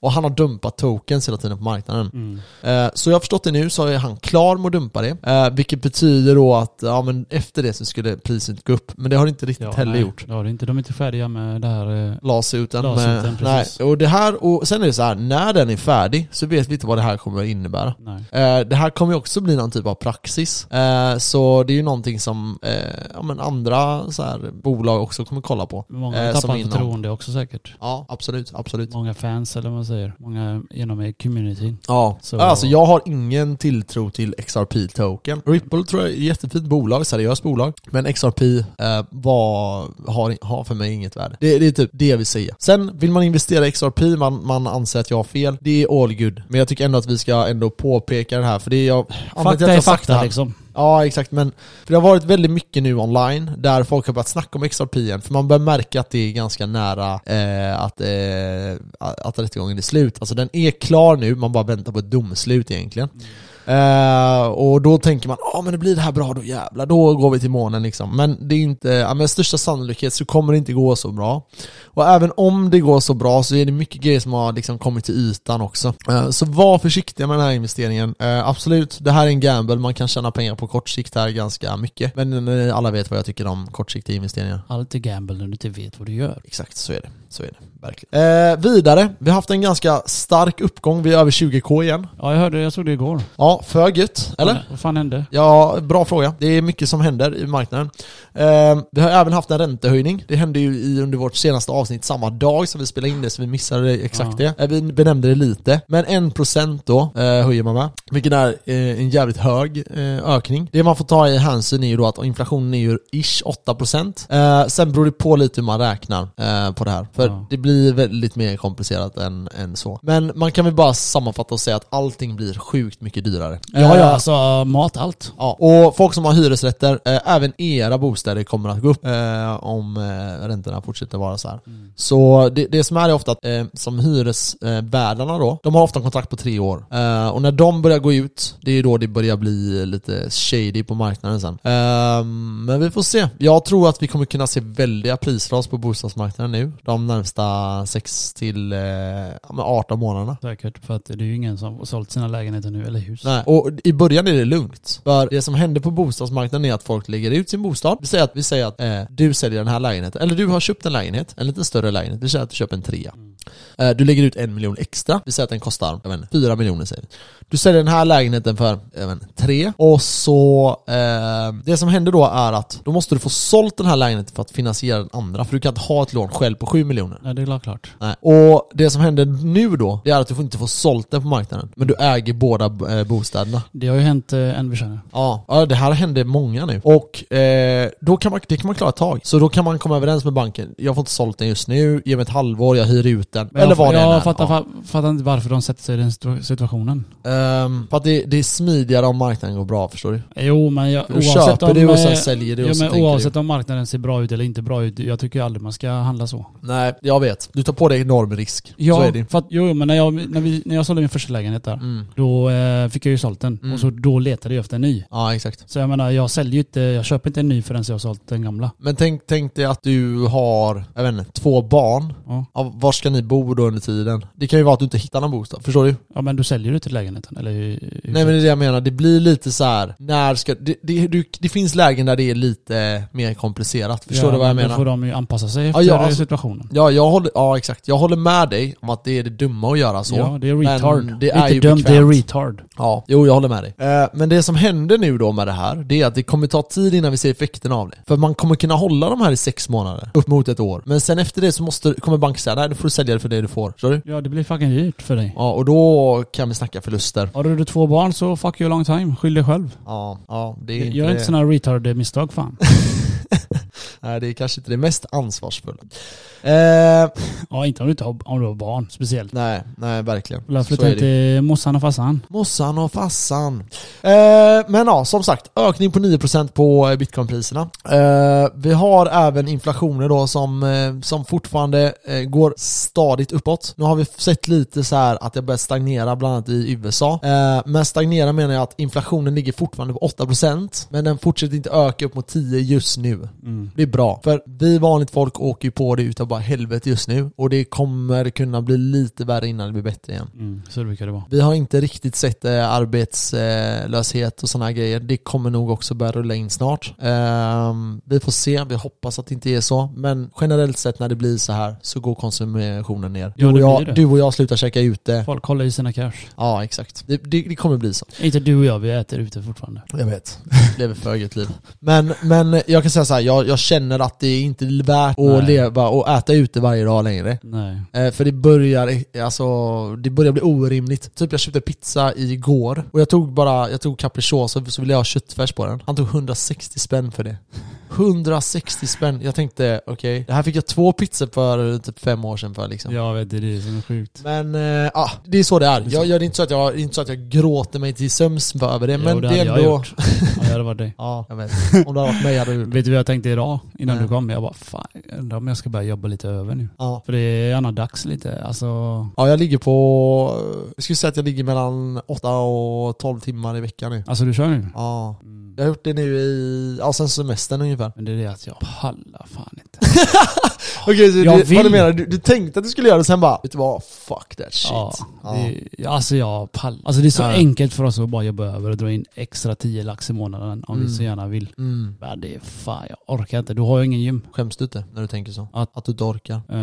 Speaker 1: och han har dumpat tokens hela tiden på marknaden. Eh, så jag har förstått det nu så är han klar med att dumpa det. Eh, vilket betyder då att ja, men efter det så skulle priset gå upp. Men det har det inte riktigt heller
Speaker 2: nej.
Speaker 1: gjort
Speaker 2: Ja, det är inte, de är inte färdiga med det här. eh,
Speaker 1: lasuten.
Speaker 2: Lasuten,
Speaker 1: men- nej.
Speaker 2: precis.
Speaker 1: Och det här, och sen är det så här, när den är färdig så vet vi inte vad det här kommer att innebära.
Speaker 2: Nej.
Speaker 1: Eh, Det här kommer ju också bli någon typ av praxis. Eh, Så det är ju någonting som eh, ja, men andra så här, bolag också kommer kolla på.
Speaker 2: Många
Speaker 1: Eh,
Speaker 2: tappar
Speaker 1: inom-
Speaker 2: förtroende också säkert.
Speaker 1: Ja, absolut, absolut.
Speaker 2: Många fans eller vad man säger. Många genom med communityn.
Speaker 1: Ja,
Speaker 2: Så-
Speaker 1: alltså jag har ingen tilltro till XRP-token. Ripple tror jag är ett jättefint bolag, seriöst bolag. Men XRP eh, var, har, har för mig inget värde. Det, det är typ det jag vill säga. Sen vill man investera i XRP, man, man anser att jag har fel. Det är all good. Men jag tycker ändå att vi ska ändå påpeka det här, för det är jag... anledningen till att jag
Speaker 2: Fakta är
Speaker 1: har sagt det
Speaker 2: fakta
Speaker 1: här-
Speaker 2: liksom.
Speaker 1: Ja, exakt. Men för det har varit väldigt mycket nu online där folk har börjat snacka om XRP igen. För man börjar märka att det är ganska nära eh, att, eh, att rättegången är slut. Alltså den är klar nu, man bara väntar på ett domslut egentligen. Eh, och då tänker man, ja men det blir det här bra då jävlar, då går vi till månen liksom. Men det är inte, ja, med största sannolikhet så kommer det inte gå så bra. Och även om det går så bra så är det mycket grejer som har liksom kommit till ytan också. Eh, Så var försiktiga med den här investeringen. Eh, Absolut, det här är en gamble, man kan tjäna pengar på kort sikt här ganska mycket. Men eh, alla vet vad jag tycker om kortsiktiga investeringar.
Speaker 2: Allt är gamble när du inte vet vad du gör.
Speaker 1: Exakt, så är det. Så är det, verkligen. Eh, vidare, vi har haft en ganska stark uppgång, vi är över 20k igen.
Speaker 2: Ja, jag hörde, jag såg det igår.
Speaker 1: Ja, för gött, eller?
Speaker 2: Vad fan hände?
Speaker 1: Ja, bra fråga. Det är mycket som händer i marknaden. Eh, vi har även haft en räntehöjning. Det hände ju i, under vårt senaste avsnitt samma dag som vi spelade in det, så vi missade exakt
Speaker 2: Ja.
Speaker 1: det. Eh, vi benämnde det lite. Men 1% då eh, höjer man med, vilket är eh, en jävligt hög eh, ökning. Det man får ta i hänsyn är ju då att inflationen är ju ish 8%. Eh, sen beror det på lite hur man räknar eh, på det här. För
Speaker 2: Ja.
Speaker 1: det blir väldigt mer komplicerat än, än så. Men man kan väl bara sammanfatta och säga att allting blir sjukt mycket dyrare.
Speaker 2: Ja, ja,
Speaker 1: Eh,
Speaker 2: alltså mat, allt.
Speaker 1: Ja, och folk som har hyresrätter, eh, även era bostäder kommer att gå upp eh, om eh, räntorna fortsätter vara så här. Så det, det som är är ofta att eh, som hyresvärdarna då, de har ofta kontrakt på tre år. Eh, och när de börjar gå ut, det är då det börjar bli lite shady på marknaden sen. Eh, men vi får se. Jag tror att vi kommer kunna se väldiga prisras på bostadsmarknaden nu, de närmsta 6 till eh, ja, men 18 månaderna.
Speaker 2: Säkert, för att det är ju ingen som har sålt sina lägenheter nu, eller hus.
Speaker 1: Nej. Och i början är det lugnt. För det som händer på bostadsmarknaden är att folk lägger ut sin bostad. Vi säger att, vi säger att eh, du säljer den här lägenheten, eller du har köpt en lägenhet, en lite större lägenhet. Vi säger att du köper en trea. Eh, du lägger ut en miljon extra. Vi säger att den kostar, jag vet inte, fyra miljoner säger vi. Du säljer den här lägenheten för, jag vet inte, tre. Och så, eh, det som händer då är att då måste du få sålt den här lägenheten för att finansiera den andra. För du kan inte ha ett lån själv på sju miljoner.
Speaker 2: Nej, det är klart.
Speaker 1: Nej. Och det som händer nu då, det är att du får inte få sålt den på marknaden. Men du äger båda eh, bostäderna.
Speaker 2: Det har ju hänt eh, en vi känner.
Speaker 1: Ja, ja det här händer många nu. Och eh, då kan man, det kan man klara ett tag. Så då kan man komma överens med banken. Jag får inte sålt den just nu, ge mig ett halvår, jag hyr ut den.
Speaker 2: Men
Speaker 1: Eller
Speaker 2: jag,
Speaker 1: vad det än är.
Speaker 2: Jag fattar,
Speaker 1: Ja.
Speaker 2: fa- fattar inte varför de sätter sig i den situ- situationen.
Speaker 1: Ehm, för att det, det är smidigare om marknaden går bra, förstår du?
Speaker 2: Jo, men jag,
Speaker 1: För då köper du och sen
Speaker 2: eh,
Speaker 1: säljer du
Speaker 2: jo,
Speaker 1: och så
Speaker 2: men
Speaker 1: tänker
Speaker 2: oavsett om marknaden ser bra ut eller inte bra ut, jag tycker ju aldrig man ska handla så.
Speaker 1: Nej, jag vet. Du tar på dig enorm risk.
Speaker 2: Ja,
Speaker 1: Så är det.
Speaker 2: För att, jo, jo, men när jag, när, vi, när jag sålde min första lägenhet där,
Speaker 1: Mm.
Speaker 2: då eh, fick jag ju sålt den.
Speaker 1: Mm.
Speaker 2: Och så då letade jag efter en ny.
Speaker 1: Ja, exakt.
Speaker 2: Så jag menar, jag säljer ju inte, jag köper inte en ny förrän jag har sålt den gamla.
Speaker 1: Men tänk, tänk dig att du har, jag vet inte, två barn.
Speaker 2: Ja.
Speaker 1: Ja, var ska ni bo då under tiden? Det kan ju vara att du inte hittar någon bostad, förstår du?
Speaker 2: Ja men då säljer du till lägenheten eller hur? hur-
Speaker 1: Nej men det är det jag menar, det blir lite så här. när ska... Det, det, du, det finns lägen där det är lite mer komplicerat, förstår
Speaker 2: Ja,
Speaker 1: du vad jag
Speaker 2: men Då får
Speaker 1: menar?
Speaker 2: de ju anpassa sig
Speaker 1: Ja,
Speaker 2: efter
Speaker 1: ja, alltså-
Speaker 2: situationen.
Speaker 1: Ja, jag håller, ja exakt. Jag håller med dig om att det är det dumma att göra så.
Speaker 2: ja, det är
Speaker 1: Men
Speaker 2: retard.
Speaker 1: Det är ju
Speaker 2: inte dumt, det är
Speaker 1: bekvämt.
Speaker 2: retard.
Speaker 1: Ja, jo jag håller med dig. Eh, men det som händer nu då med det här, det är att det kommer ta tid innan vi ser effekterna av det. För man kommer kunna hålla de här i sex månader, upp mot ett år. Men sen efter det så måste, kommer banken säga nej, du får sälja det för det du får. Förstår du?
Speaker 2: Ja det blir fucking dyrt för dig.
Speaker 1: Ja, och då kan vi snacka förluster.
Speaker 2: Har du två barn så fuck you long time, skyll dig själv.
Speaker 1: Ja, ja det är inte
Speaker 2: Gör
Speaker 1: det.
Speaker 2: inte sådana retard-misstag fan.
Speaker 1: <laughs> Nej, det är kanske inte det mest ansvarsfulla. Eh,
Speaker 2: ja inte om du inte har, om du har barn speciellt.
Speaker 1: nej, nej verkligen.
Speaker 2: Lär
Speaker 1: Så
Speaker 2: flytta
Speaker 1: är
Speaker 2: in
Speaker 1: det.
Speaker 2: till mossan och farsan.
Speaker 1: Mossan och fassan. Eh, men ja, som sagt, ökning på 9% på eh, bitcoinpriserna. Eh, vi har även inflationen då som, eh, som fortfarande eh, går stadigt uppåt. Nu har vi sett lite så här att det börjar stagnera bland annat i USA. Eh, men stagnera menar jag att inflationen ligger fortfarande på 8% men den fortsätter inte öka upp mot 10 just nu. Det är bra. För vi vanligt folk åker ju på det utav bara helvete just nu och det kommer kunna bli lite värre innan det blir bättre igen.
Speaker 2: Mm, så brukar det vara.
Speaker 1: Vi har inte riktigt sett eh, arbetslöshet och sådana grejer. Det kommer nog också börja rulla in snart. Ehm, vi får se, vi hoppas att det inte är så. Men generellt sett när det blir så här så går konsumtionen ner.
Speaker 2: Ja, det
Speaker 1: du, och
Speaker 2: blir det.
Speaker 1: jag, du och jag slutar käka ute.
Speaker 2: Folk håller i sina cash.
Speaker 1: Ja, exakt. Det, det, det kommer bli så.
Speaker 2: Inte du och jag, vi äter ute fortfarande.
Speaker 1: Jag vet. Lever för eget liv. Men, men jag kan säga så här, jag, jag känner känner att det inte är värt
Speaker 2: Nej.
Speaker 1: att leva och äta ute varje dag längre.
Speaker 2: Nej.
Speaker 1: Eh, För det börjar, alltså, det börjar bli orimligt. Typ jag köpte pizza igår och jag tog bara, jag tog capricciosa så ville jag ha köttfärs på den. Han tog 160 spänn för det. 160 spänn. Jag tänkte okej, det här fick jag två pizzor för typ fem år sedan för liksom.
Speaker 2: Jag vet, det är det som är sjukt.
Speaker 1: Men eh, ah, det är så det är. Jag, jag, det, är inte så att jag, det är inte så att jag gråter mig till sömns över det, men
Speaker 2: jo,
Speaker 1: det
Speaker 2: det, hade
Speaker 1: är
Speaker 2: jag
Speaker 1: ändå...
Speaker 2: gjort. <laughs> Ja, det hade varit dig.
Speaker 1: Ja, jag vet. Om det hade varit mig hade jag gjort det.
Speaker 2: Vet du vad jag tänkte idag innan
Speaker 1: Nej.
Speaker 2: du kom? Jag bara, fan, jag undrar om jag ska börja jobba lite över nu.
Speaker 1: Ja.
Speaker 2: För det är gärna dags lite. Alltså,
Speaker 1: ja, jag ligger på... Jag skulle säga att jag ligger mellan 8 och 12 timmar i veckan nu.
Speaker 2: alltså du kör nu?
Speaker 1: Ja. Jag har gjort det nu i... Ja, sen semestern ungefär.
Speaker 2: Men det är det att jag pallar fan
Speaker 1: <laughs>
Speaker 2: inte.
Speaker 1: Okej, så
Speaker 2: Jag
Speaker 1: det,
Speaker 2: vill.
Speaker 1: vad du menar? Du, du tänkte att du skulle göra det, sen bara... Vet du vad? Fuck that shit.
Speaker 2: Ja,
Speaker 1: Ja.
Speaker 2: det, ja, alltså jag pallar. Alltså det är så
Speaker 1: Ja.
Speaker 2: enkelt för oss att bara jobba över och dra in extra 10 lax i månaden om vi
Speaker 1: Mm.
Speaker 2: så gärna vill.
Speaker 1: Mm.
Speaker 2: Men det är fan, jag orkar inte. Du har ju ingen gym.
Speaker 1: Skäms du inte när du tänker så?
Speaker 2: Att-
Speaker 1: Att, du inte orkar?
Speaker 2: Eh,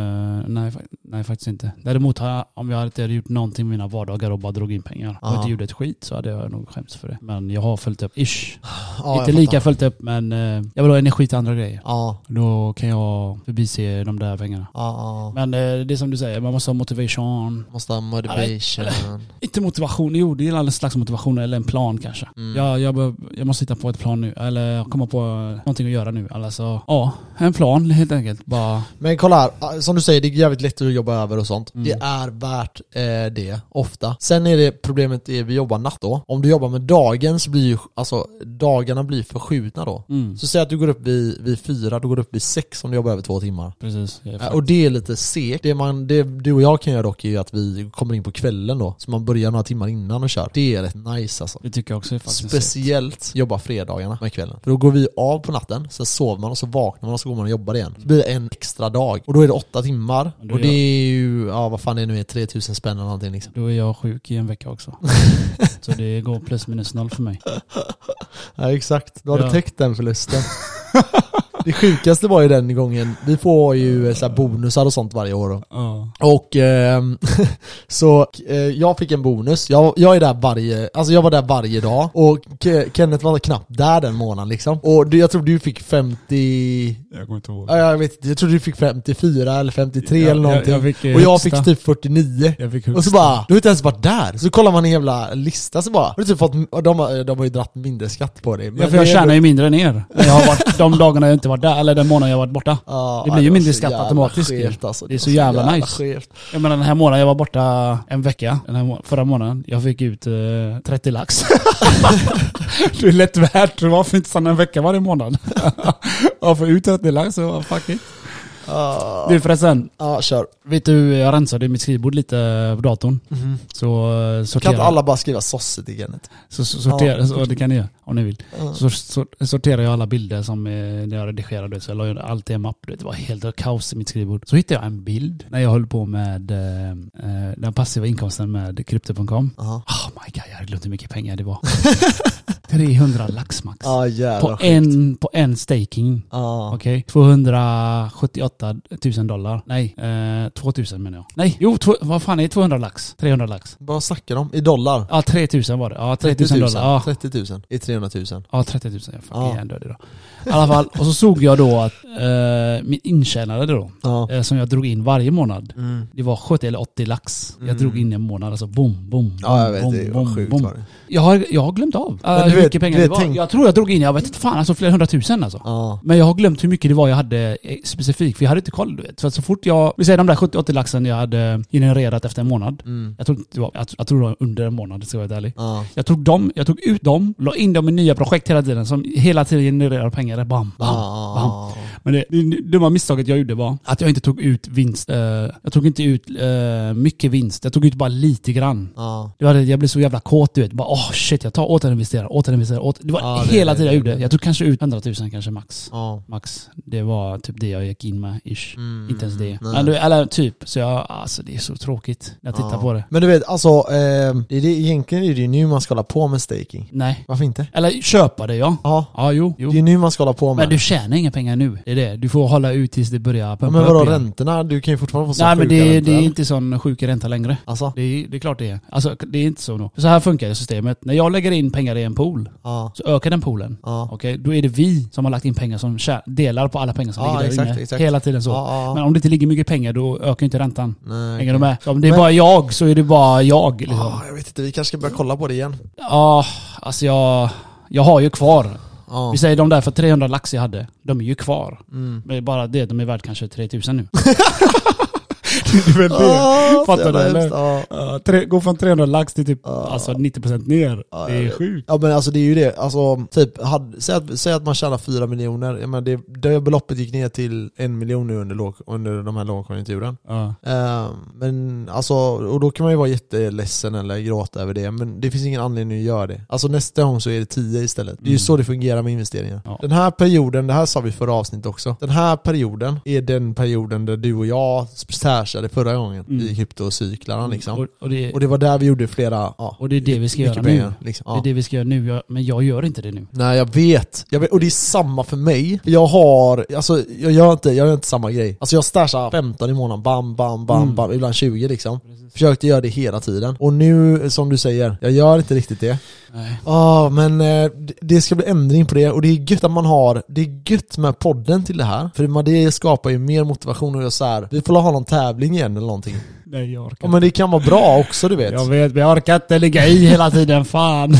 Speaker 2: nej, fa- nej, faktiskt inte. Däremot har jag, om jag inte hade gjort någonting med mina vardagar och bara drog in pengar och
Speaker 1: Ja.
Speaker 2: inte gjorde ett skit så hade jag nog skämts för det. Men jag har följt upp, ish.
Speaker 1: Ja,
Speaker 2: inte
Speaker 1: jag
Speaker 2: lika
Speaker 1: fattar.
Speaker 2: följt upp men eh, jag vill ha energi till andra grejer.
Speaker 1: Ja,
Speaker 2: Då kan jag förbise de där pengarna.
Speaker 1: ja, ja.
Speaker 2: Men eh, det är som du säger, man måste ha motivation.
Speaker 1: Måste ha motivation.
Speaker 2: Inte motivation, jo det är all slags motivation eller en plan kanske.
Speaker 1: Mm.
Speaker 2: Jag, jag, behöv, jag måste hitta på ett plan nu, eller komma på eh, någonting att göra nu. Alltså, ja, en plan helt enkelt. Bara, mm.
Speaker 1: Men kolla här, som du säger, det är jävligt lätt att jobba över och sånt.
Speaker 2: Mm.
Speaker 1: Det är värt eh, det, ofta. Sen är det problemet är vi jobbar natt då. Om du jobbar med dagen så blir ju, alltså dagarna blir förskjutna då.
Speaker 2: mm,
Speaker 1: Så säg att du går upp vid, vid fyra, du går upp vid sex om du jobbar över två timmar.
Speaker 2: precis. Jag är
Speaker 1: Eh, Och det är lite segt. Det, man, det du och jag kan göra dock är ju att vi kommer in på kvällen då. Så man börjar några timmar innan och kör. Det är rätt nice alltså.
Speaker 2: Det tycker jag också är faktiskt.
Speaker 1: Speciellt jobba fredagarna med kvällen. För då går vi av på natten, sen sover man och så vaknar man och så går man och jobbar igen. Så blir det en extra dag. Och då är det åtta timmar.
Speaker 2: Men då
Speaker 1: Och
Speaker 2: är
Speaker 1: det
Speaker 2: jag-
Speaker 1: är ju, ja vad fan det nu är, 3000 spänn eller någonting liksom.
Speaker 2: Då är jag sjuk i en vecka <laughs> också. så det går plus minus noll för mig.
Speaker 1: Ja exakt, då har
Speaker 2: Ja.
Speaker 1: du täckt den förlusten. <laughs> det sjukaste var ju den gången, vi får ju eh, så här bonusar och sånt varje år då.
Speaker 2: Ja.
Speaker 1: Och ehm, <laughs> så eh, jag fick en bonus, jag, jag är där varje, alltså jag var där varje dag och Ke- Kenneth var knappt där den månaden liksom. Och du, jag tror du fick 50,
Speaker 2: Jag kommer inte ihåg.
Speaker 1: ja, jag vet inte, jag tror du fick 54 eller 53
Speaker 2: Jag-
Speaker 1: eller
Speaker 2: jag-
Speaker 1: någonting.
Speaker 2: jag fick, eh,
Speaker 1: och jag
Speaker 2: högsta.
Speaker 1: fick typ 49.
Speaker 2: Jag fick
Speaker 1: Och så
Speaker 2: högsta.
Speaker 1: bara, du har inte ens varit där. Så kollar man en jävla lista så bara, har du typ fått, och de, har- de har ju dratt mindre skatt på dig. Men
Speaker 2: Ja, för jag
Speaker 1: det är ändå-
Speaker 2: tjänar ju mindre än er. Men Jag har varit, <laughs> de dagarna jag inte varit där, eller den månaden jag varit borta.
Speaker 1: Ja,
Speaker 2: det blir ju
Speaker 1: var
Speaker 2: mindre
Speaker 1: så
Speaker 2: skatt
Speaker 1: jävla
Speaker 2: automatiskt ju.
Speaker 1: skevt, alltså.
Speaker 2: Det är
Speaker 1: var
Speaker 2: så jävla, nice.
Speaker 1: skevt.
Speaker 2: Jag menar den här månaden, jag var borta en vecka. Den här må- förra månaden, jag fick ut eh, 30 <laughs> lax. det är lätt värt. Det var fint stanna en vecka varje <laughs> månad. Att få ut 30 lax, så fuck it.
Speaker 1: Ja,
Speaker 2: Du förresten,
Speaker 1: ja, kör.
Speaker 2: vet du, jag rensade mitt skrivbord lite på datorn.
Speaker 1: Mhm.
Speaker 2: Så eh,
Speaker 1: Kan
Speaker 2: sorterade
Speaker 1: inte alla bara skriva sosse till Kenneth?
Speaker 2: Så, så, sortera,
Speaker 1: Ja.
Speaker 2: så, det kan ni göra om ni vill.
Speaker 1: Ja.
Speaker 2: Så, så sorterar jag alla bilder som eh, när jag redigerade. Så jag la ju allt i en mapp. du vet. Det var helt kaos i mitt skrivbord. Så hittade jag en bild när jag höll på med eh, eh, den passiva inkomsten med krypto.com.
Speaker 1: Jaha.
Speaker 2: <laughs> Oh my god, jag hade glömt hur mycket pengar det var. 300 lax max.
Speaker 1: Ja jävlar
Speaker 2: på, en, på en staking.
Speaker 1: Ja.
Speaker 2: Okej. 278 000 dollar. Nej, eh, 2000 menar jag. Nej, jo, två- vad fan är 200 lax? 300 lax.
Speaker 1: Vad snackar de om? I dollar?
Speaker 2: Ja, 3000 var det. Ja, 3000 dollar. Ja,
Speaker 1: 30 000. I 300 000.
Speaker 2: Ja, 30 000. Jag fucking
Speaker 1: Ja.
Speaker 2: är död idag. I alla fall, och så såg jag då att eh, min intjänade då,
Speaker 1: Ja.
Speaker 2: eh, som jag drog in varje månad,
Speaker 1: Mm.
Speaker 2: det var 70 eller 80 lax. Jag drog in en månad, alltså boom, boom,
Speaker 1: Ja jag
Speaker 2: boom,
Speaker 1: vet, det
Speaker 2: boom,
Speaker 1: var sjukt
Speaker 2: boom.
Speaker 1: var det.
Speaker 2: Jag har, jag har glömt av eh,
Speaker 1: Men du
Speaker 2: hur
Speaker 1: vet-
Speaker 2: mycket pengar
Speaker 1: du
Speaker 2: det
Speaker 1: vet,
Speaker 2: var.
Speaker 1: tänk-
Speaker 2: Jag tror jag drog in, jag vet inte fan, alltså flera hundratusen alltså.
Speaker 1: Ja.
Speaker 2: Men jag har glömt hur mycket det var jag hade eh, specifikt, för jag hade inte koll du vet. För att så fort jag, vi säger de där 70-80 laxen jag hade genererat efter en månad. Jag tror inte det var, jag, jag tror det var under en månad, ska jag vara ärlig.
Speaker 1: Mm. Ja.
Speaker 2: Jag tog dem, jag tog ut dem, la in dem i nya projekt hela tiden som hela tiden genererar pengar. Bam, bam,
Speaker 1: Ja.
Speaker 2: bam. Men det, det dumma misstaget jag gjorde var att jag inte tog ut vinst. eh, jag tog inte ut eh, mycket vinst. Jag tog ut bara lite grann.
Speaker 1: Ja.
Speaker 2: Det var det, jag blev så jävla kåt du vet. Bara åh shit, jag tar återinvesterar, återinvesterar. Åter... Det var
Speaker 1: Ja, det-
Speaker 2: hela
Speaker 1: det-
Speaker 2: tiden jag
Speaker 1: det-
Speaker 2: gjorde. Jag tog kanske ut 100 000 kanske max.
Speaker 1: Ja. Mm.
Speaker 2: Max. Det var typ det jag gick in med, ish. inte ens det.
Speaker 1: nej.
Speaker 2: Men du, eller typ. Så jag, alltså det är så tråkigt när jag tittar
Speaker 1: Ja.
Speaker 2: på det.
Speaker 1: Men du vet, alltså, eh, det är det, egentligen är det ju nu man ska hålla på med staking.
Speaker 2: Nej.
Speaker 1: Varför inte?
Speaker 2: Eller köpa det ja.
Speaker 1: Ja.
Speaker 2: Ja, jo. jo.
Speaker 1: Det är ju nu man ska hålla på med
Speaker 2: Men
Speaker 1: det.
Speaker 2: du tjänar inga pengar nu. Det är är det. Du får hålla ut tills det börjar pumpa
Speaker 1: Men vadå
Speaker 2: upp igen.
Speaker 1: räntorna? Du kan ju fortfarande få så
Speaker 2: Nej men
Speaker 1: sjuka
Speaker 2: det,
Speaker 1: räntor.
Speaker 2: det är inte sån sjuk ränta längre.
Speaker 1: Alltså?
Speaker 2: Det är, det är klart det är. Alltså det är inte så nog. Så här funkar det systemet. När jag lägger in pengar i en pool
Speaker 1: Ja.
Speaker 2: så ökar den poolen.
Speaker 1: Ja.
Speaker 2: Okej, då är det vi som har lagt in pengar som tjä- delar på alla pengar som
Speaker 1: Ja,
Speaker 2: ligger där
Speaker 1: exakt,
Speaker 2: inne.
Speaker 1: exakt.
Speaker 2: Hela tiden så.
Speaker 1: Ja, ja.
Speaker 2: Men om det inte ligger mycket pengar då ökar ju inte räntan.
Speaker 1: Nej,
Speaker 2: Hänger du
Speaker 1: okej.
Speaker 2: med? Så om det är
Speaker 1: Men-
Speaker 2: bara jag så är det bara jag. Liksom.
Speaker 1: Ja, jag vet inte, vi kanske ska börja kolla på det igen.
Speaker 2: Ja, alltså jag, jag har ju kvar.
Speaker 1: Ja. mm.
Speaker 2: Vi säger de där för 300 lax jag hade, de är ju kvar.
Speaker 1: <laughs>
Speaker 2: Men det är Eh, bara det, de är värd kanske 3000 nu. <laughs> det är väl
Speaker 1: Ah,
Speaker 2: Fattar
Speaker 1: så jävla
Speaker 2: du, eller?
Speaker 1: hemskt. Ja.
Speaker 2: Ja, tre, gå från 300 lax till typ alltså 90% ner. det är sjukt.
Speaker 1: Ja men alltså det är ju det, alltså typ, hade, säg, att, säg att man tjänar 4 miljoner, jag menar, det, det beloppet gick ner till 1 miljon nu under, låg, under de här lågkonjunkturen.
Speaker 2: Ja.
Speaker 1: Eh, men alltså, och då kan man ju vara jätteledsen eller gråta över det, men det finns ingen anledning att göra det. Alltså nästa gång så är det 10 istället. Det är ju så det fungerar med investeringar.
Speaker 2: Mm. Ja.
Speaker 1: Den här perioden, det här sa vi i förra avsnittet också, den här perioden är den perioden där du och jag särsade förra gången i kryptocyklarna liksom.
Speaker 2: Mm. Och, och, det,
Speaker 1: Och det var där vi gjorde flera, ja,
Speaker 2: och det är det vi ska göra
Speaker 1: mycket
Speaker 2: nu.
Speaker 1: pengar. Liksom.
Speaker 2: Det
Speaker 1: Ja.
Speaker 2: är det vi ska göra nu, jag, men jag gör inte det nu.
Speaker 1: Nej jag vet. jag vet, och det är samma för mig. Jag har, alltså jag gör inte, jag gör inte samma grej. Alltså jag stashar 15 i månaden, bam, bam, bam,
Speaker 2: Mm.
Speaker 1: bam, ibland 20 liksom. Försökte göra det hela tiden. Och nu, som du säger, jag gör inte riktigt det.
Speaker 2: Nej.
Speaker 1: Ja, men eh, d- det ska bli ändring på det och det är gött att man har, det är gött med podden till det här. För man- det skapar ju mer motivation och jag så här, vi får ha någon tävling igen eller någonting.
Speaker 2: Nej jag orkar
Speaker 1: Ja men det kan vara bra också du vet.
Speaker 2: Jag vet, men jag orkar inte ligga i hela tiden. Fan. <laughs>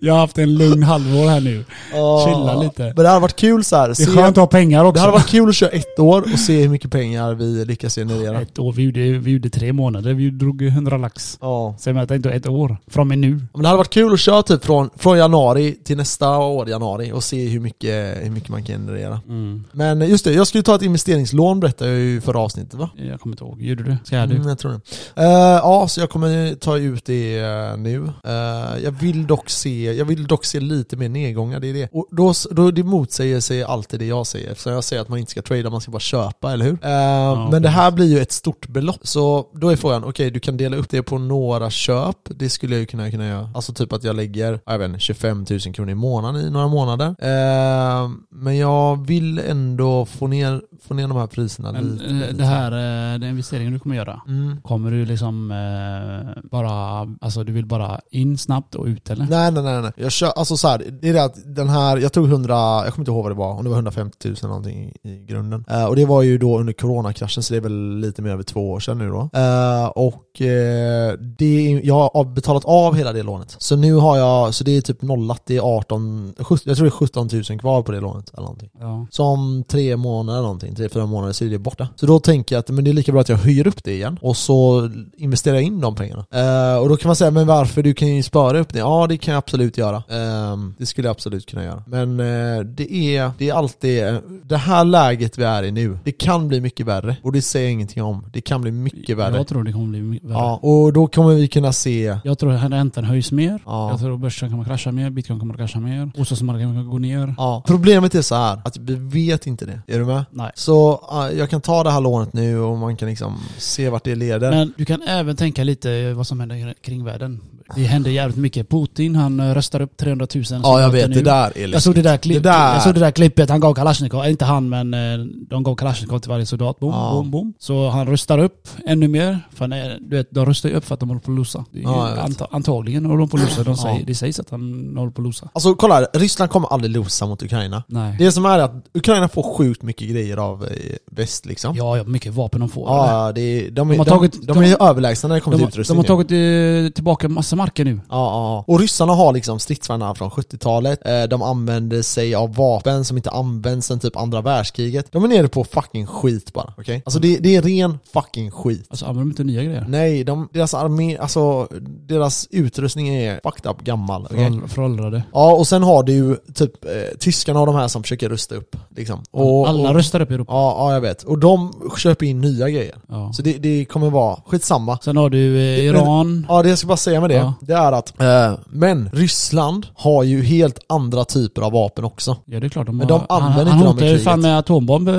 Speaker 2: jag har haft en lugn halvår här nu.
Speaker 1: Ja,
Speaker 2: Chilla lite.
Speaker 1: Ah. Men det hade varit kul så här.
Speaker 2: Det är
Speaker 1: se-
Speaker 2: skönt att ha pengar också.
Speaker 1: Det hade varit kul att köra ett år och se hur mycket pengar vi lyckas generera.
Speaker 2: Ett år, vi gjorde, vi gjorde tre månader. Vi drog 100 lax.
Speaker 1: Ja.
Speaker 2: Sen mäter inte ett år. Från och med nu.
Speaker 1: Men det hade varit kul att köra typ från, från januari till nästa år, januari, och se hur mycket, hur mycket man kan generera.
Speaker 2: Mm.
Speaker 1: Men just det, jag skulle ta ett investeringslån berättade jag ju i förra avsnittet va?
Speaker 2: Jag kommer inte ihåg. Gjorde du? Ska jag du?
Speaker 1: Mm, jag tror det. Eh, ja, så jag kommer ta ut det eh, nu. Eh, jag, vill dock se, jag vill dock se lite mer nedgångar, det är det. Och då, s- då det motsäger sig alltid det jag säger. Så jag säger att man inte ska trada, man ska bara köpa, eller hur? Eh, men det här blir ju ett stort belopp. Så då är frågan, okej du kan dela upp det på några köp. Det skulle jag ju kunna, kunna göra. Alltså typ att jag lägger, jag vet inte, 25 000 kronor i månaden i några månader. Eh, men jag vill ändå få ner, få ner de här priserna
Speaker 2: Men,
Speaker 1: lite.
Speaker 2: eh, det här, eh, den investeringen du kommer göra.
Speaker 1: Mm.
Speaker 2: Kommer du liksom eh, bara, alltså du vill bara in snabbt och ut eller?
Speaker 1: Nej nej nej, nej. Jag kör, alltså så här, det är det att den här, jag tog 100, jag kommer inte ihåg vad det var, om det var 150 000 någonting i grunden. Eh, och det var ju då under coronakraschen, så det är väl lite mer över två år sedan nu då. Eh, och eh, det, jag har betalat av hela det lånet. Så nu har jag, så det är typ nollat, det är 18, 17, jag tror det är 17 000 kvar på det lånet eller någonting.
Speaker 2: Ja.
Speaker 1: Som tre månader någonting, tre, fyra månader så är det borta. Så då tänker jag att men det är lika bra att jag höjer upp det igen och så investerar jag in de pengarna. Eh, och då kan man säga, men varför? Du kan ju spara upp det. Ja, det kan jag absolut göra. Ehm, det skulle jag absolut kunna göra. Men eh, det, är, det är alltid, eh, det här läget vi är i nu, det kan bli mycket värre. Och det säger jag ingenting om. Det kan bli mycket värre.
Speaker 2: Jag tror det kommer bli värre.
Speaker 1: Ja, och då kommer vi kunna se
Speaker 2: Jag tror att räntan höjs mer.
Speaker 1: Ja.
Speaker 2: Jag tror börsen kommer krascha mer. Bitcoin kommer krascha mer. Bostadsmarknaden kommer gå ner.
Speaker 1: Ja. Problemet är så här att vi vet inte det. Är du med?
Speaker 2: Nej.
Speaker 1: Så eh, jag kan ta det här lånet nu och man kan liksom se vart det leder.
Speaker 2: Men du kan även tänka lite eh, vad som händer kring världen. Det händer jävligt mycket. Putin, han eh, röstar upp 300 000. som
Speaker 1: ja, jag
Speaker 2: heter
Speaker 1: vet.
Speaker 2: nu.
Speaker 1: Det där är liksom-
Speaker 2: Jag såg det där, klipp,
Speaker 1: Det där.
Speaker 2: Jag såg det där klippet, han gav Kalashnikov, inte han men eh, de gav Kalashnikov till varje soldat. Boom,
Speaker 1: Ja.
Speaker 2: boom, boom. Så han rustar upp ännu mer. För när, du vet, de rustar ju upp för att de håller på att losa. Det är ju
Speaker 1: Ja, jag vet.
Speaker 2: anta, antagligen håller de på att losa. De säger,
Speaker 1: Ja.
Speaker 2: Det sägs att han håller på att losa.
Speaker 1: Alltså kolla här, Ryssland kommer aldrig losa mot Ukraina.
Speaker 2: Nej.
Speaker 1: Det som är är att Ukraina får sjukt mycket grejer av eh, väst liksom.
Speaker 2: Ja, ja, mycket vapen de får. eller?
Speaker 1: Ja, det är, de, är,
Speaker 2: De har
Speaker 1: de,
Speaker 2: tagit-
Speaker 1: de, är
Speaker 2: de-
Speaker 1: ju överlägsna när det kommer till
Speaker 2: de, har- de
Speaker 1: utrustning.
Speaker 2: har
Speaker 1: nu.
Speaker 2: tagit eh, tillbaka massa marker nu.
Speaker 1: Ja, ja, ja. Och ryssarna har liksom stridsvagnar från 70-talet, Eh, de använder sig av vapen som inte används sedan typ andra världskriget. De är nere på fucking skit bara, okej? Alltså det, det är ren fucking skit.
Speaker 2: Alltså använder de inte nya grejer?
Speaker 1: Nej, de, deras armé, alltså deras utrustning är fucked up gammal. okej?
Speaker 2: Förål- Föråldrade.
Speaker 1: Ja, och sen har du ju typ eh, tyskarna och de här som försöker rusta upp. Liksom. Och,
Speaker 2: Alla
Speaker 1: och,
Speaker 2: röstar upp i Europa.
Speaker 1: ja, ja, jag vet. Och de köper in nya grejer.
Speaker 2: Ja.
Speaker 1: Så det, det kommer vara, skitsamma.
Speaker 2: Sen har du eh, Iran.
Speaker 1: Ja, det jag ska bara säga med det.
Speaker 2: Ja. Ja,
Speaker 1: Det är att, eh, men Ryssland har ju helt andra typer av vapen också.
Speaker 2: ja det är klart de
Speaker 1: Men
Speaker 2: har.
Speaker 1: de använder
Speaker 2: han,
Speaker 1: inte dem
Speaker 2: han
Speaker 1: i
Speaker 2: hotar ju
Speaker 1: kriget.
Speaker 2: fan med atombomb, eh,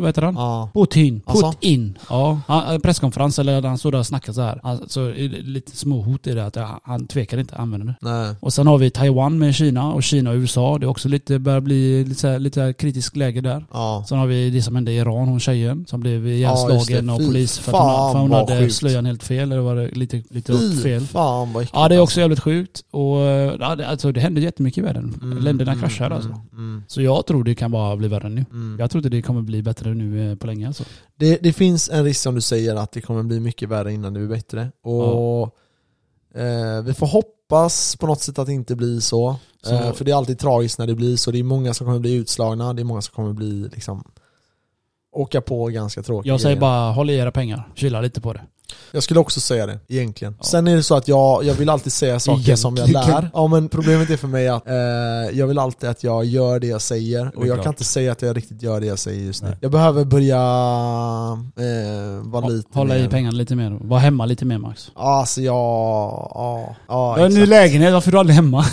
Speaker 2: vad heter han?
Speaker 1: Ja.
Speaker 2: Putin.
Speaker 1: Alltså?
Speaker 2: Putin. Ja, han, eh, presskonferens eller han stod där och snackade så här. Alltså, i- lite småhot i det att han, han tvekar inte, använder det.
Speaker 1: Nej.
Speaker 2: Och sen har vi Taiwan med Kina och Kina och USA. Det är också lite, börjar bli lite, så här, lite så här kritiskt läge där.
Speaker 1: Ja.
Speaker 2: Sen har vi det som hände i Iran, hon tjejen som blev
Speaker 1: just
Speaker 2: ihjälslagen
Speaker 1: det.
Speaker 2: av
Speaker 1: Fy
Speaker 2: polis för att hon,
Speaker 1: fan,
Speaker 2: för hon
Speaker 1: vad
Speaker 2: hade
Speaker 1: sjukt.
Speaker 2: slöjan helt fel eller var det lite, lite åt fel.
Speaker 1: fan vad äckligt.
Speaker 2: Ja det är också jävligt sjukt och eh, ja, det, alltså, det händer jättemycket i världen.
Speaker 1: Mm,
Speaker 2: Länderna kraschar alltså. Så jag tror det kan bara bli värre nu.
Speaker 1: Mm.
Speaker 2: Jag tror inte det kommer bli bättre nu eh, på länge alltså.
Speaker 1: Det, det finns en risk som du säger att det kommer bli mycket värre innan det blir bättre. Och eh, vi får hoppas på något sätt att det inte blir så.
Speaker 2: Så-
Speaker 1: Eh, för det är alltid tragiskt när det blir så. Det är många som kommer bli utslagna, det är många som kommer bli liksom åka på ganska tråkiga
Speaker 2: Jag säger
Speaker 1: grejer.
Speaker 2: bara håll i era pengar, chila lite på det.
Speaker 1: Jag skulle också säga det, egentligen.
Speaker 2: Ja.
Speaker 1: Sen är det så att jag, jag vill alltid säga saker som jag
Speaker 2: Egentligen.
Speaker 1: lär. Ja men problemet är för mig att eh, jag vill alltid att jag gör det jag säger, och jag
Speaker 2: klart.
Speaker 1: kan inte säga att jag riktigt gör det jag säger just nu.
Speaker 2: Nej.
Speaker 1: Jag behöver börja eh, vara lite
Speaker 2: Hålla
Speaker 1: mer...
Speaker 2: i pengarna lite mer, var hemma lite mer Max.
Speaker 1: Ja, alltså jag... Ja, ja,
Speaker 2: Jag har en ny
Speaker 1: exakt.
Speaker 2: lägenhet, varför är du
Speaker 1: <laughs>
Speaker 2: aldrig hemma?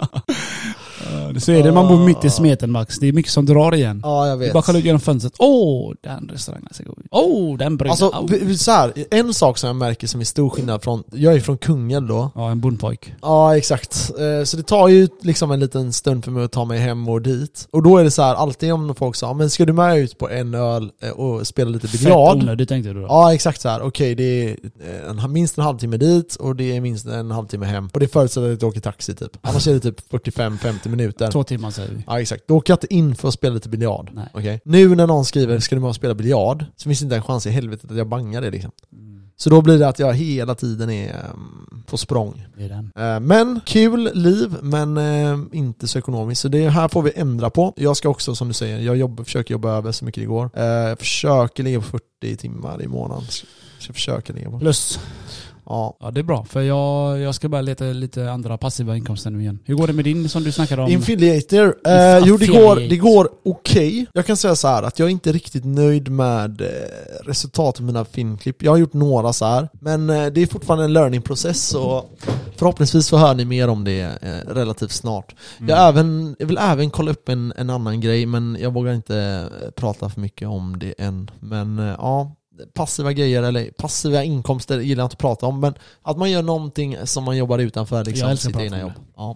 Speaker 2: Eh, Så är det, man bor mitt i smeten Max. Det är mycket som drar igen.
Speaker 1: Ah. ja jag
Speaker 2: Det är
Speaker 1: vet.
Speaker 2: Bara kolla ut genom fönstret. Åh, den restaurangen ser god ut. Åh, den bryggan.
Speaker 1: Alltså
Speaker 2: Au.
Speaker 1: vi- vi- så här, en sak som jag märker som är stor skillnad från, jag är från Kungälv då,
Speaker 2: Ja, en bondpojk.
Speaker 1: Ja exakt, Eh, så det tar ju liksom en liten stund för mig att ta mig hem och dit. Och då är det så här, alltid om folk sa men ska du med ut på en öl eh, och spela lite
Speaker 2: Fett
Speaker 1: biljard?
Speaker 2: onödigt tänkte du då.
Speaker 1: Ja exakt så här. okej det är eh, en, minst en halvtimme dit och det är minst en halvtimme hem. Och det förutsätter att du åker taxi typ. Annars är det typ 45-50 minuter.
Speaker 2: Två timmar säger vi.
Speaker 1: Ja exakt, då åker jag inte in för att spela lite biljard.
Speaker 2: Nej.
Speaker 1: Okej? Nu när någon skriver 'Ska du med och spela biljard?' så finns det inte en chans i helvetet att jag bangar det liksom. Så då blir det att jag hela tiden är ehm, på språng.
Speaker 2: Det är den.
Speaker 1: Eh, Men kul liv, men eh, inte så ekonomiskt. Så det här får vi ändra på. Jag ska också, som du säger, jag jobbar, försöker jobba över så mycket det går. Eh, försöker ligga på 40 timmar i månaden. Så jag försöker ligga på.
Speaker 2: Plus.
Speaker 1: Ja.
Speaker 2: Ja, det är bra. För jag, jag ska bara leta lite andra passiva inkomster nu igen. Hur går det med din som du snackade om?
Speaker 1: Infiliator. Eh,
Speaker 2: Affiliate.
Speaker 1: jo, det går, det går okej. Jag kan säga så här att jag är inte riktigt nöjd med eh, resultatet av mina filmklipp. Jag har gjort några så här, men eh, det är fortfarande en learning-process och förhoppningsvis så hör ni mer om det eh, relativt snart.
Speaker 2: Mm.
Speaker 1: Mm. Jag, har även, jag vill även kolla upp en, en annan grej, men jag vågar inte eh, prata för mycket om det än. Men eh, ja, passiva grejer eller passiva inkomster gillar jag inte att prata om, men att man gör någonting som man jobbar utanför
Speaker 2: Jag
Speaker 1: liksom,
Speaker 2: älskar
Speaker 1: sitt
Speaker 2: att
Speaker 1: egna
Speaker 2: prata om
Speaker 1: jobb.